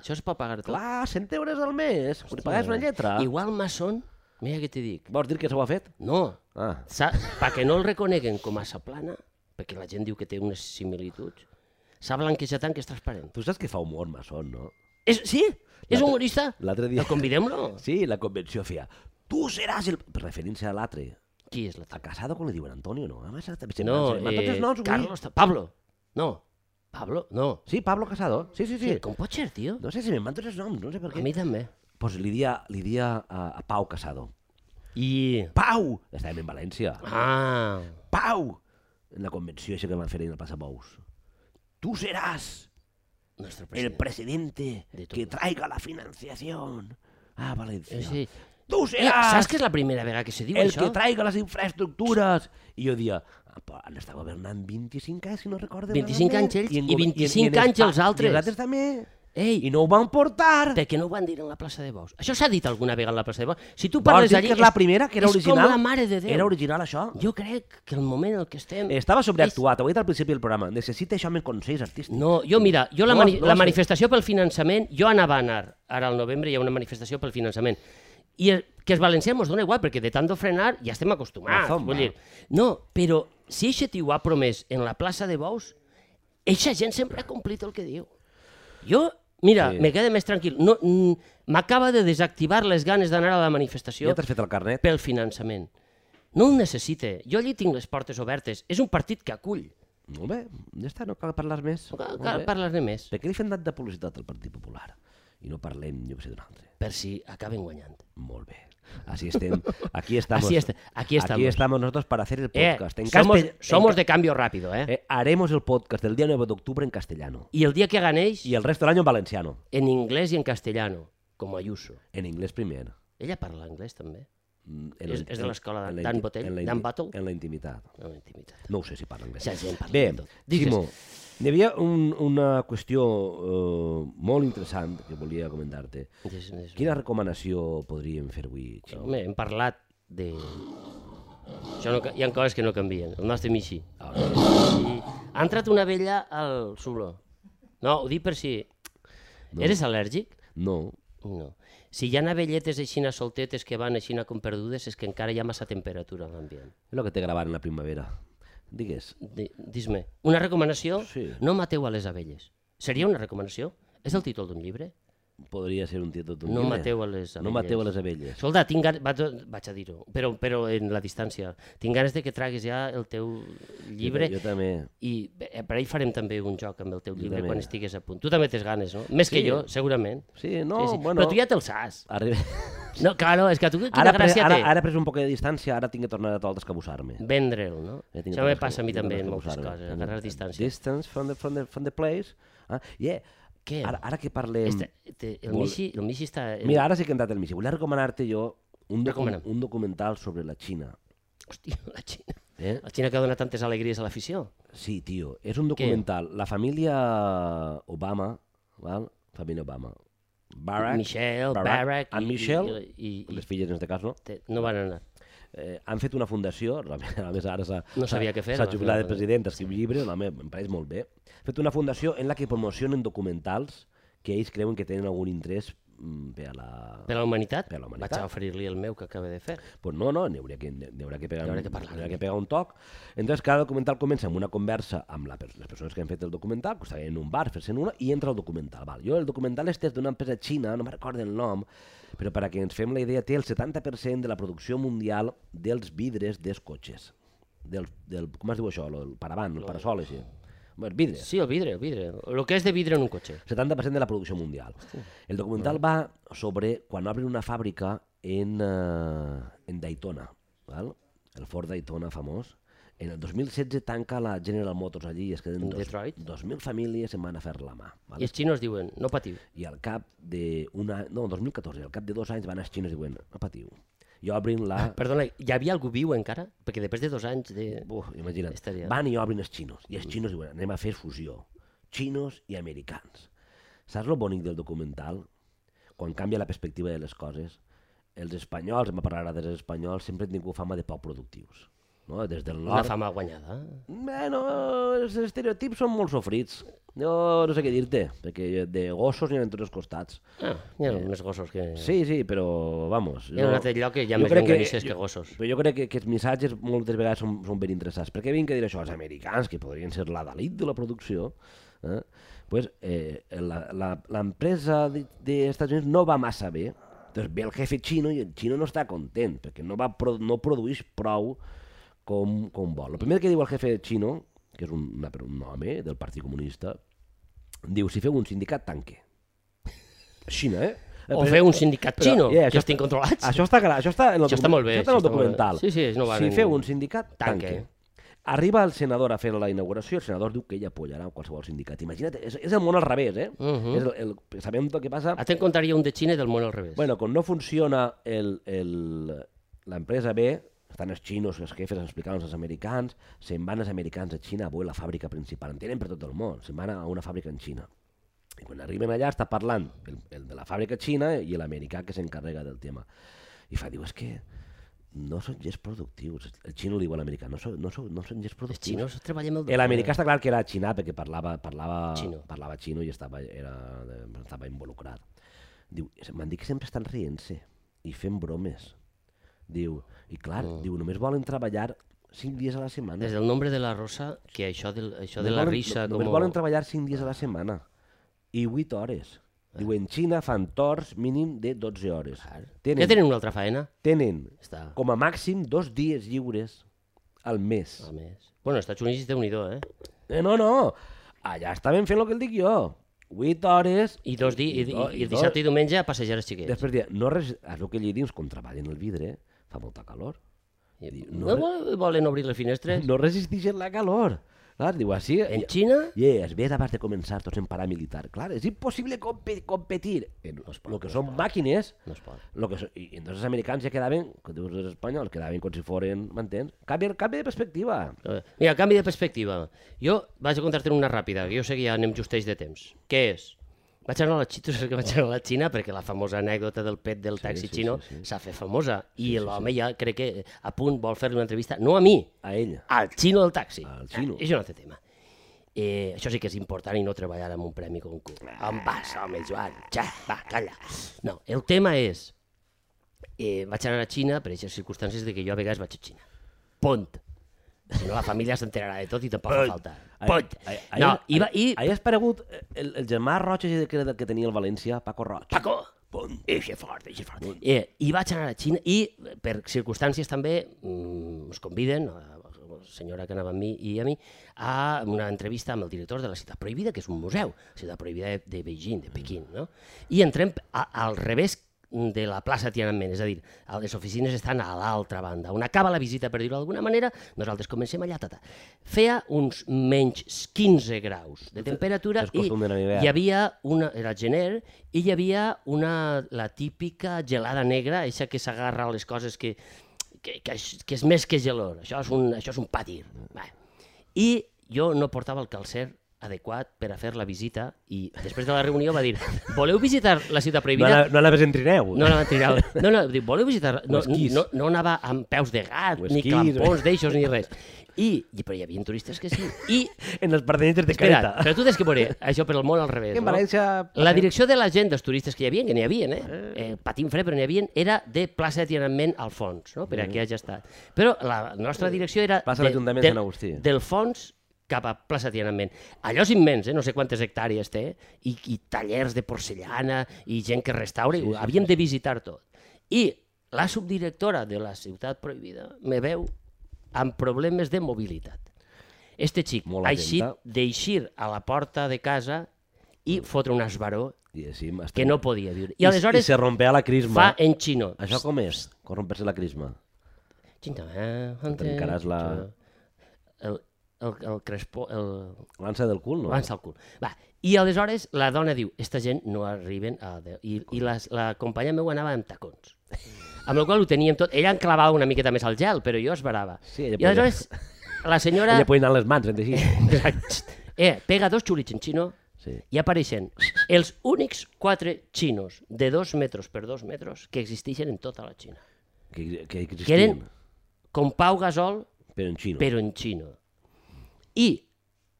Això es pot pagar tot. Clar, 100 euros al mes, quan hi pagues una lletra. I... Igual maçon, mira què t'hi dic. Vols dir que s'ho ha fet? No, Ah. Sa, pa que no el reconeguen com a sa plana, perquè la gent diu que té unes similituds, s'ha blanquejat tant que és transparent. Tu saps que fa humor, Masson, no? És, sí? És humorista? L'altre dia... El convidem-lo? Sí, la convenció feia. Tu seràs el... Referint-se a l'altre. Qui és la A taca? Casado, com li diuen? Antonio, no? A més, sempre... No, eh, sempre- tots els noms, avui. Carlos... Ta- Pablo. No. Pablo, no. Sí, Pablo Casado. Sí, sí, sí. Sí, com pot ser, tio? No sé si me'n van tots els noms, no sé per A què. mi també. Pues li dia, li dia a, a Pau Casado. I... Pau! Estàvem en València. Ah, Pau! En la convenció això que van fer ahir en el Passapous. Tu seràs nostre el president. presidente De todo. que traiga la financiación a Valencia. Eh, Sí. Tu Eh, saps seràs que és la primera vegada que se diu el això? que traiga les infraestructures. I jo dia, ah, però han estat governant 25 anys, si no recordo 25 malament. anys ells en i gover- 25 anys Espa- els I altres. els altres també. Ei, I no ho van portar. de que no ho van dir en la plaça de Bous. Això s'ha dit alguna vegada en la plaça de Bous. Si tu Vols parles dir allí... que és la primera, que era original? És com la mare de Déu. Era original, això? Jo crec que el moment en el que estem... Estava sobreactuat, ho he dit al principi del programa. Necessita això més consells artístics. No, jo mira, jo la, No, mani no la sé. manifestació pel finançament, jo anava a anar, ara al novembre hi ha una manifestació pel finançament, i el, que els valencians mos dona igual, perquè de tant de frenar ja estem acostumats. Razón, vull va. dir. No, però si eixe tio ha promès en la plaça de Bous, eixa gent sempre ha complit el que diu. Jo, mira, Sí. sí. me quedo més tranquil. No, mm, M'acaba de desactivar les ganes d'anar a la manifestació Ja t'has fet el carnet? pel finançament. No ho necessite. Jo allí tinc les portes obertes. És un partit que acull. Molt bé, ja està, no cal parlar més. No cal, Molt cal bé. parlar-ne més. Per què li fem tant de publicitat al Partit Popular? I no parlem, jo que sé, d'un altre. Per si acaben guanyant. Molt bé. Así estem. (laughs) Aquí estamos. Así est- aquí Aquí estamos. estamos nosotros para hacer el Eh, podcast. en somos, castell- en somos ca- de cambio rápido, eh? eh, haremos el podcast del día 9 de octubre en castellano. Y el día que ganéis, Y el resto del año en valenciano. en inglés y en castellano, como Ayuso. En inglés primero. Ella parla anglès, també. Mm, En És- la- és de en- l'escola de en la Dan inti- Botell, en la inti- Dan Battle? En la intimitat. No m'intimitat. No ho sé si parla anglès. Ja gent parla Bé, de tot. Digues. Ximo, hi havia un, una qüestió eh, molt interessant que volia comentar-te. És- és- Quina recomanació podríem fer avui, Ximo? Home, hem parlat de... Això no, ca- hi ha coses que no canvien. El nostre Michi. Ah, El nostre Michi. Ha entrat una vella al subló. No, ho dic per si... No. Eres al·lèrgic? No. No. Si hi ha abelletes aixina soltetes que van aixina com perdudes, és que encara hi ha massa temperatura en l'ambient. És el que té gravat en la primavera. Digues. Di- Dis-me, una recomanació? Sí. No mateu a les abelles. Seria una recomanació? És el títol d'un llibre? Podria ser un títol d'un No llibre. mateu a les No abelles. mateu a les abelles. Solda, tinc ganes... Vaig, a- vaig a dir-ho, però, però en la distància. Tinc ganes de que traguis ja el teu llibre Jo, jo també. i eh, per ahir farem també un joc amb el teu llibre també. quan estigues a punt. Tu també tens ganes, no? Més Sí. que jo, segurament. Sí, no, bueno... Però tu ja te'l saps. Arriba... No, claro, és que a tu quina (laughs) Ara, pre... gràcia ara, té ara he pres un poc de distància, ara tinc que tornar a tot escabussar-me. vendre'l, no? Ja tinc Això me tantes passa a mi coses- també en tantes moltes coses, coses, ara. agarrar distància. Distance from the, from the, from the place. Ah, yeah. Què? Ara, ara que parlem... Este, te, el, Mm. Molt- Michi, el Michi està... en- Mira, ara sí que he entrat el Michi. Volia recomanar-te jo un, docu Recomana'm. un documental sobre la Xina. Hòstia, la Xina. Eh? La Xina que dona tantes alegries a l'afició. Sí, tio, és un documental. La família Obama, val? família Obama, Barack, Michelle, Barack... en Michelle, I, i, les filles en aquest cas, no? i te, no van anar. Eh, han fet una fundació, (laughs) la me- a més ara s'ha No eh. sabia s'ha- què fer, s'ha va fer jubilat de una president, escriu llibres, home, em pareix molt bé. Han fet una fundació en la que promocionen documentals que ells creuen que tenen algun interès mm, per a la... Per a la humanitat, Per a la humanitat. vaig a oferir-li el meu que acaba de fer. Pues no, no, n'hi hauria, que, n'hi hauria que pegar, N'hi un- haurà que parlar n'hi haurà una que pegar un toc. Entonces, cada documental comença amb una conversa amb la, per- les persones que han fet el documental, que estaven en un bar fent una, i entra el documental. Val. Jo, el documental este és d'una empresa xina, no me'n recordo el nom, però per a que ens fem la idea, té el 70% de la producció mundial dels vidres dels cotxes. Del, del, com es diu això? Lo- El paravant, el parasol, així. Bé, Els vidres. Sí, el vidre, el vidre. El que és de vidre en un cotxe. 70% de la producció mundial. El documental va sobre quan obren una fàbrica en, eh, en Daytona, val? el Ford Daytona famós, En el 2016 tanca la General Motors allí i es queden En dos, Detroit? 2.000 famílies se'n van a fer la mà. Vale? I els xinos diuen, no patiu. I al cap de un any, no, el 2014, al cap de dos anys van als xines i diuen, no patiu. I obrin la... Perdona, hi havia algú viu encara? Perquè després de dos anys de... Buf, imagina't. Estaria- Mm. Van i obrin els xinos. I els xinos diuen, anem a fer fusió. Xinos i americans. Saps lo bonic del documental? Quan canvia la perspectiva de les coses, els espanyols, em parlarà dels espanyols, sempre han tingut fama de poc productius. No? Des del Una nord... fama guanyada. Bueno, els estereotips són molt sofrits. Jo no sé què dir-te, perquè de gossos n'hi ha en tots els costats. Ah, hi ha uns gossos que... Sí, sí, però, vamos... Hi ha un altre lloc que hi ha més llonganisses que gossos. Però jo crec que aquests missatges moltes vegades són, són ben interessants. Perquè vinc a dir això als americans, que podrien ser la delit de la producció, eh? pues, eh, la- la- l'empresa de- d'Estats Units no va massa bé. Entonces ve el jefe xino i el xino no està content, perquè no, va pro, no produeix prou com, com vol. El primer que diu el jefe xino, que és un, una, un home del Partit Comunista, diu, si feu un sindicat, tanque. Xina, eh? O fer un sindicat Però, xino, yeah, que això- estin controlats. Això està, gra- això està en el, Això està document- molt bé, Això està en el això està molt bé. documental. Sí, sí, no va si ningú- feu un sindicat, tanque. Tanque. Arriba el senador a fer la inauguració, el senador diu que ell apoyarà qualsevol sindicat. Imagina't, és, és el món al revés, eh? Mhm. és el, el, sabem el que passa. A te encontraria un de Xina i del món al revés. Bueno, quan no funciona el- el- l'empresa B, estan els xinos, els jefes, els explicant als americans, se'n van els americans a Xina, avui la fàbrica principal, en tenen per tot el món, se'n van a una fàbrica en Xina. I quan arriben allà està parlant el, el de la fàbrica xina i l'americà que s'encarrega del tema. I fa, diu, és que no són gens productius. El xino li diu a l'americà, no, sou, no, sou, no són gens Els productius. xinos treballem el... Eh, L'americà està clar que era xinà perquè parlava, parlava, Eh. Xino. parlava xino i estava, era, estava involucrat. Diu, m'han dit que sempre estan rient-se i fent bromes. Diu, i clar, Mm. diu, només volen treballar 5 dies a la setmana. Des del nombre de la rosa, que això de, això de Només la volen- risa... Només com... volen treballar 5 dies a la setmana i 8 hores. Diu, Eh. en Xina fan torns mínim de 12 hores. Ja tenen una altra faena. tenen Està. com a màxim dos dies lliures al mes. A més. Bueno, als Estats Units, déu nhi eh? Eh, no, no. Allà estaven fent el que el dic jo. 8 hores... I dos di... I, i, do- i el dos- dissabte i diumenge a passejar els xiquets. Després dia, no res... Es veu que allà dins, com treballen el vidre, fa molta calor. I- no No, re- vol- volen obrir les finestres? No resisteixen la calor. Clar, diu així... En Xina? I yeah, es ve abans de començar tots en paramilitar. Clar, és impossible compe competir en el que són màquines No es pot. lo que so- i i entonces els americans ja quedaven, com dius els espanyols, quedaven com si foren, m'entens? Canvi, canvi de perspectiva. Eh, Mira, canvi de perspectiva. Jo vaig a contar-te una ràpida, que jo sé que ja anem justeix de temps. Què és? Vaig anar a la Xina, que vaig anar a la Xina perquè la famosa anècdota del pet del taxi sí, xino s'ha sí, sí. fet famosa i l'home ja crec que a punt vol fer-li una entrevista, no a mi, A ell. al xino del taxi. Al xino. Ah, és un altre tema. Eh, això sí que és important i no treballar amb un premi concurs. On vas, home, Joan? Ja, va, calla. No, el tema és... Eh, vaig anar a Xina per aquestes circumstàncies de que jo a vegades vaig a Xina. Pont. Si no, la família s'enterarà de tot i tampoc fa falta. Pont. Ahir- No, ahir- i, va, i Ahir has paregut el, el germà roig ese que, era del que tenia el València, Paco Roig. Paco, bon, eixe fort, eixe fort. Eh, I vaig anar a la Xina i, eh, per circumstàncies també, mm, us conviden, a la senyora que anava amb mi i a mi, a una entrevista amb el director de la Ciutat Prohibida, que és un museu, la Ciutat Prohibida de, de Beijing, de Pequín, no? I entrem a, al revés de la plaça Tiananmen, és a dir, a- les oficines estan a l'altra banda. On acaba la visita, per dir-ho d'alguna manera, nosaltres comencem allà, tata. Feia uns menys 15 graus de temperatura és i costum d'anar a l'hivern. hi havia una, era gener, i hi havia una, la típica gelada negra, eixa que s'agarra a les coses que, que, que, és- que és més que gelor, això és un, això és un patir. Va. I jo no portava el calcer adequat per a fer la visita i després de la reunió va dir voleu visitar la No, ciutat prohibida? la, no anaves en trineu. No la van tirar. No, no, diu, voleu visitar... No, esquís. no, no anava amb peus de gat, O ni esquís. eh. clampons d'eixos, ni res. I, i, però hi havia turistes que sí. I eh? En els pertanyents de Espera, careta. però tu tens que veure això per al món al revés. Que en no? València... La direcció de la gent dels turistes que hi havia, que n'hi havia, eh? eh? patint fred, però n'hi havia, era de plaça de Tiananmen al fons, no? per a qui hagi estat. Però la nostra direcció era... Mm. Plaça de- d'Ajuntament del- Sant Agustí. Del fons cap a plaça Tiananmen. Allò és immens, eh? no sé quantes hectàrees té, i, i tallers de porcellana, i gent que restaura, sí, ho havíem de visitar tot. I la subdirectora de la ciutat prohibida me veu amb problemes de mobilitat. Este xic Molt ha eixit atenta. d'eixir a la porta de casa i fotre un esbaró Diguéssim, estem- que no podia viure. I aleshores Mm. I se rompea la crisma. fa en xino. Això com és? Com romper-se la crisma? Xinta, eh? Trencaràs la- el, el, el crespó, el, L'ansa del cul, no? l'ansa al cul. Va. I aleshores la dona diu, esta gent no arriben a... Déu". I, i les, la companya meva anava amb tacons. Amb la qual cosa ho teníem tot. Ella enclavava una miqueta més al gel, però jo esbarava. Sí, ella I aleshores la senyora... (laughs) Ella podia anar amb les mans, (laughs) entre així. Exacte. Eh, pega dos xulits en xino Sí. i apareixen els únics quatre xinos de dos metres per dos metres que existeixen en tota la Xina. Que, que existien. Que eren com Pau Gasol, Però en xino. Però, però en xino. I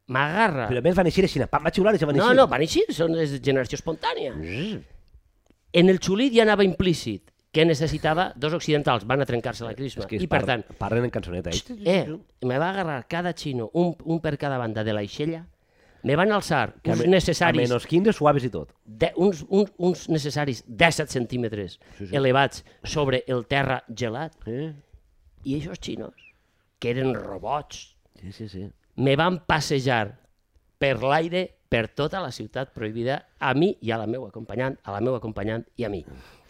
m'agarra... a més van eixir així, pam, va xiular i se van No, eixir. no, van eixir, són de generació espontània. En el xulit ja anava implícit que necessitava dos occidentals, van a trencar-se la crisma. que es I per tant, Parlen en cançoneta, eh? Eh, me va agarrar cada xino, un, un per cada banda de la aixella, me van alçar a uns me- necessaris, A menys 15 suaves i tot. de, uns, uns, uns necessaris 17 centímetres elevats sobre el terra gelat, Eh? i aquests xinos, que eren robots, Sí, sí, sí. me van passejar per l'aire per tota la ciutat prohibida, a mi i a la meva acompanyant, a la meva acompanyant i a mi.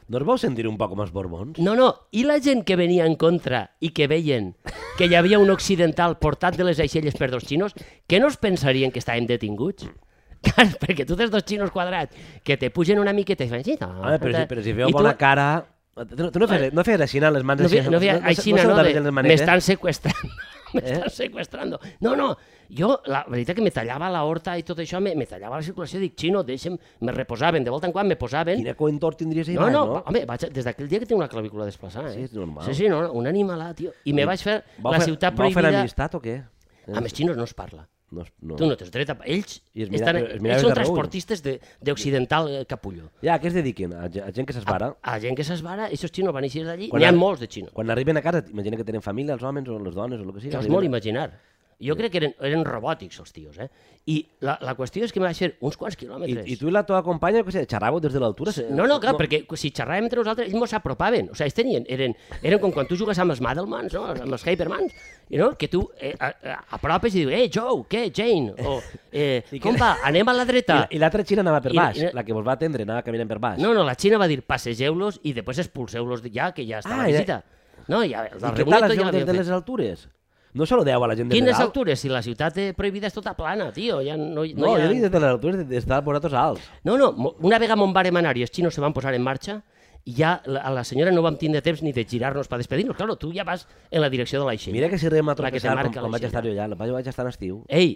No us vau sentir un poc com els borbons? No, no, i la gent que venia en contra i que veien que hi havia un occidental portat de les aixelles per dos xinos, que no es pensarien que estàvem detinguts? (laughs) Clar, perquè tu tens dos xinos quadrats que te pugen una miqueta i fan així... ta, Ah, però, si, ta, però si feu i tu- bona cara... Tu, no- tu no feies, no feies així anant les mans No, feia- no, feia així, no, saludaves de- les manetes? M'estan (laughs) secuestrant. ¿Eh? M'estan secuestrando. No, no, jo, la veritat que me tallava la horta i tot això, me, me tallava la circulació, dic, xino, deixa'm, me reposaven, de volta en quan me posaven, Quina coentor tindries ahir, no, no, no? va- home, vaig, des d'aquell dia que tinc una clavícula desplaçada. Sí, eh? és normal. Sí, sí, no, no, un animalat, tio. I me vaig fer Vau la fer- ciutat Vau fer prohibida... amistat o què? Eh? Amb els xinos no es parla. No, es- no. Tu no tens dret a... Ells, I es mira- estan, però es miraven ells són de reull. transportistes de- d'occidental eh, capullo. Ja, a què es dediquen? A, ge- a gent que s'esbara? A gent que s'esbara, aquests xinos van eixir d'allí. Quan N'hi ha ar- molts de xinos. Quan arriben a casa, imagina que tenen família, els homes o les dones o el que sigui. Que els arriben- molt imaginar. Jo crec que eren, eren robòtics, els tios, eh? I la, la qüestió és que me vaig fer uns I, quants quilòmetres. I tu eh, i la teva companya, que sé, xerràveu des de l'altura? Se- No, no, clar, no. perquè si xerràvem entre nosaltres, ells mos s'apropaven. O sigui, ells tenien, eren, eren com quan tu jugues amb els Madelmans, no? amb els Hypermans, i no? que tu eh, a, a, apropes i dius, eh, Joe, què, Jane? O, eh, I que- compa, anem a la dreta. I, I l'altra xina anava per I- baix, i- la que vos va atendre anava caminant per baix. No, no, la Xina va dir, passegeu-los i després expulseu-los de- ja, que ja està Ah, la i- visita. No, ja, el I què rebunit tal es veu ja des l'havien de fet. les altures? No se lo deu a la gent de Quines dalt. altures? Si la ciutat eh, prohibida és tota plana, tio. Ja no, no, No, hi ha... jo dic des de les altures de- d'estar vosaltres alts. No, no, mo- una vegada mon vàrem anar i els xinos se van posar en marxa, i ja la, a la senyora no vam tindre temps ni de girar-nos per despedir-nos. Claro, tu ja vas en la direcció de l'aixell. Mira que si rem a La que tropeçar te com, marca com la vaig estar jo xina. allà, vaig, vaig estar en estiu. Ei,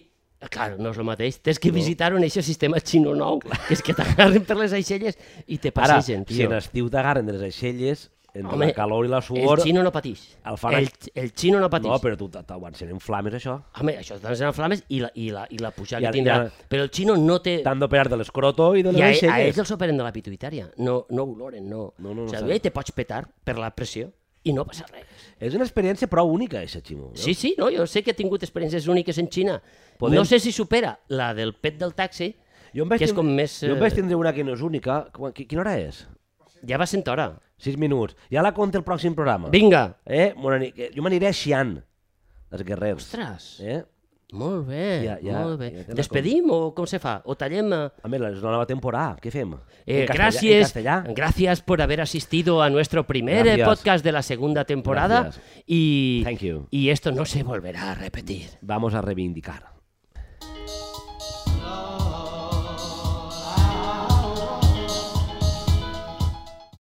clar, no és el mateix. Tens que visitar un eixe sistema xino nou, que és que t'agarren per les aixelles i te Ara, passegen, si en tio. estiu t'agarren de les aixelles, entre Home, la calor i la suor... El xino no patix. El fan- El, el xino no patix. No, però tu t- t'aguantaré en flames, això. Home, això t'han en flames i la, i la, i la pujada I ara- que tindrà. i ara- Però el xino no té... T'han d'operar de l'escroto i de les I a, a aixelles. ells els operen de la pituitària, no, no oloren, no. No, no, no o sigui, saben. eh, te pots petar per la pressió i no passa res. És una experiència prou única, això, Ximo. Sí, sí, no, jo sé que he tingut experiències úniques en Xina. Podem- No sé si supera la del pet del taxi, Jo em vaig que és tindre- com més... Jo em vaig eh, tindre una que no és única. Quan- qui- Quina hora és? Ja va sent hora. 6 minuts. Ja la conta el pròxim programa. Vinga! Eh? Bona nit. Que Jo m'aniré a Xi'an, dels guerrers. Ostres! Eh? Molt bé, Ja, ja, molt bé. ja te la Despedim o com se fa? O tallem... eh, A més, és la nova temporada. Què fem? Eh, En castellà- En gracias, castellà? gracias por haber asistido a nuestro primer eh, Gracias. podcast de la segunda temporada Gracias. y, Thank you. y esto no se volverá a repetir. Vamos a reivindicar.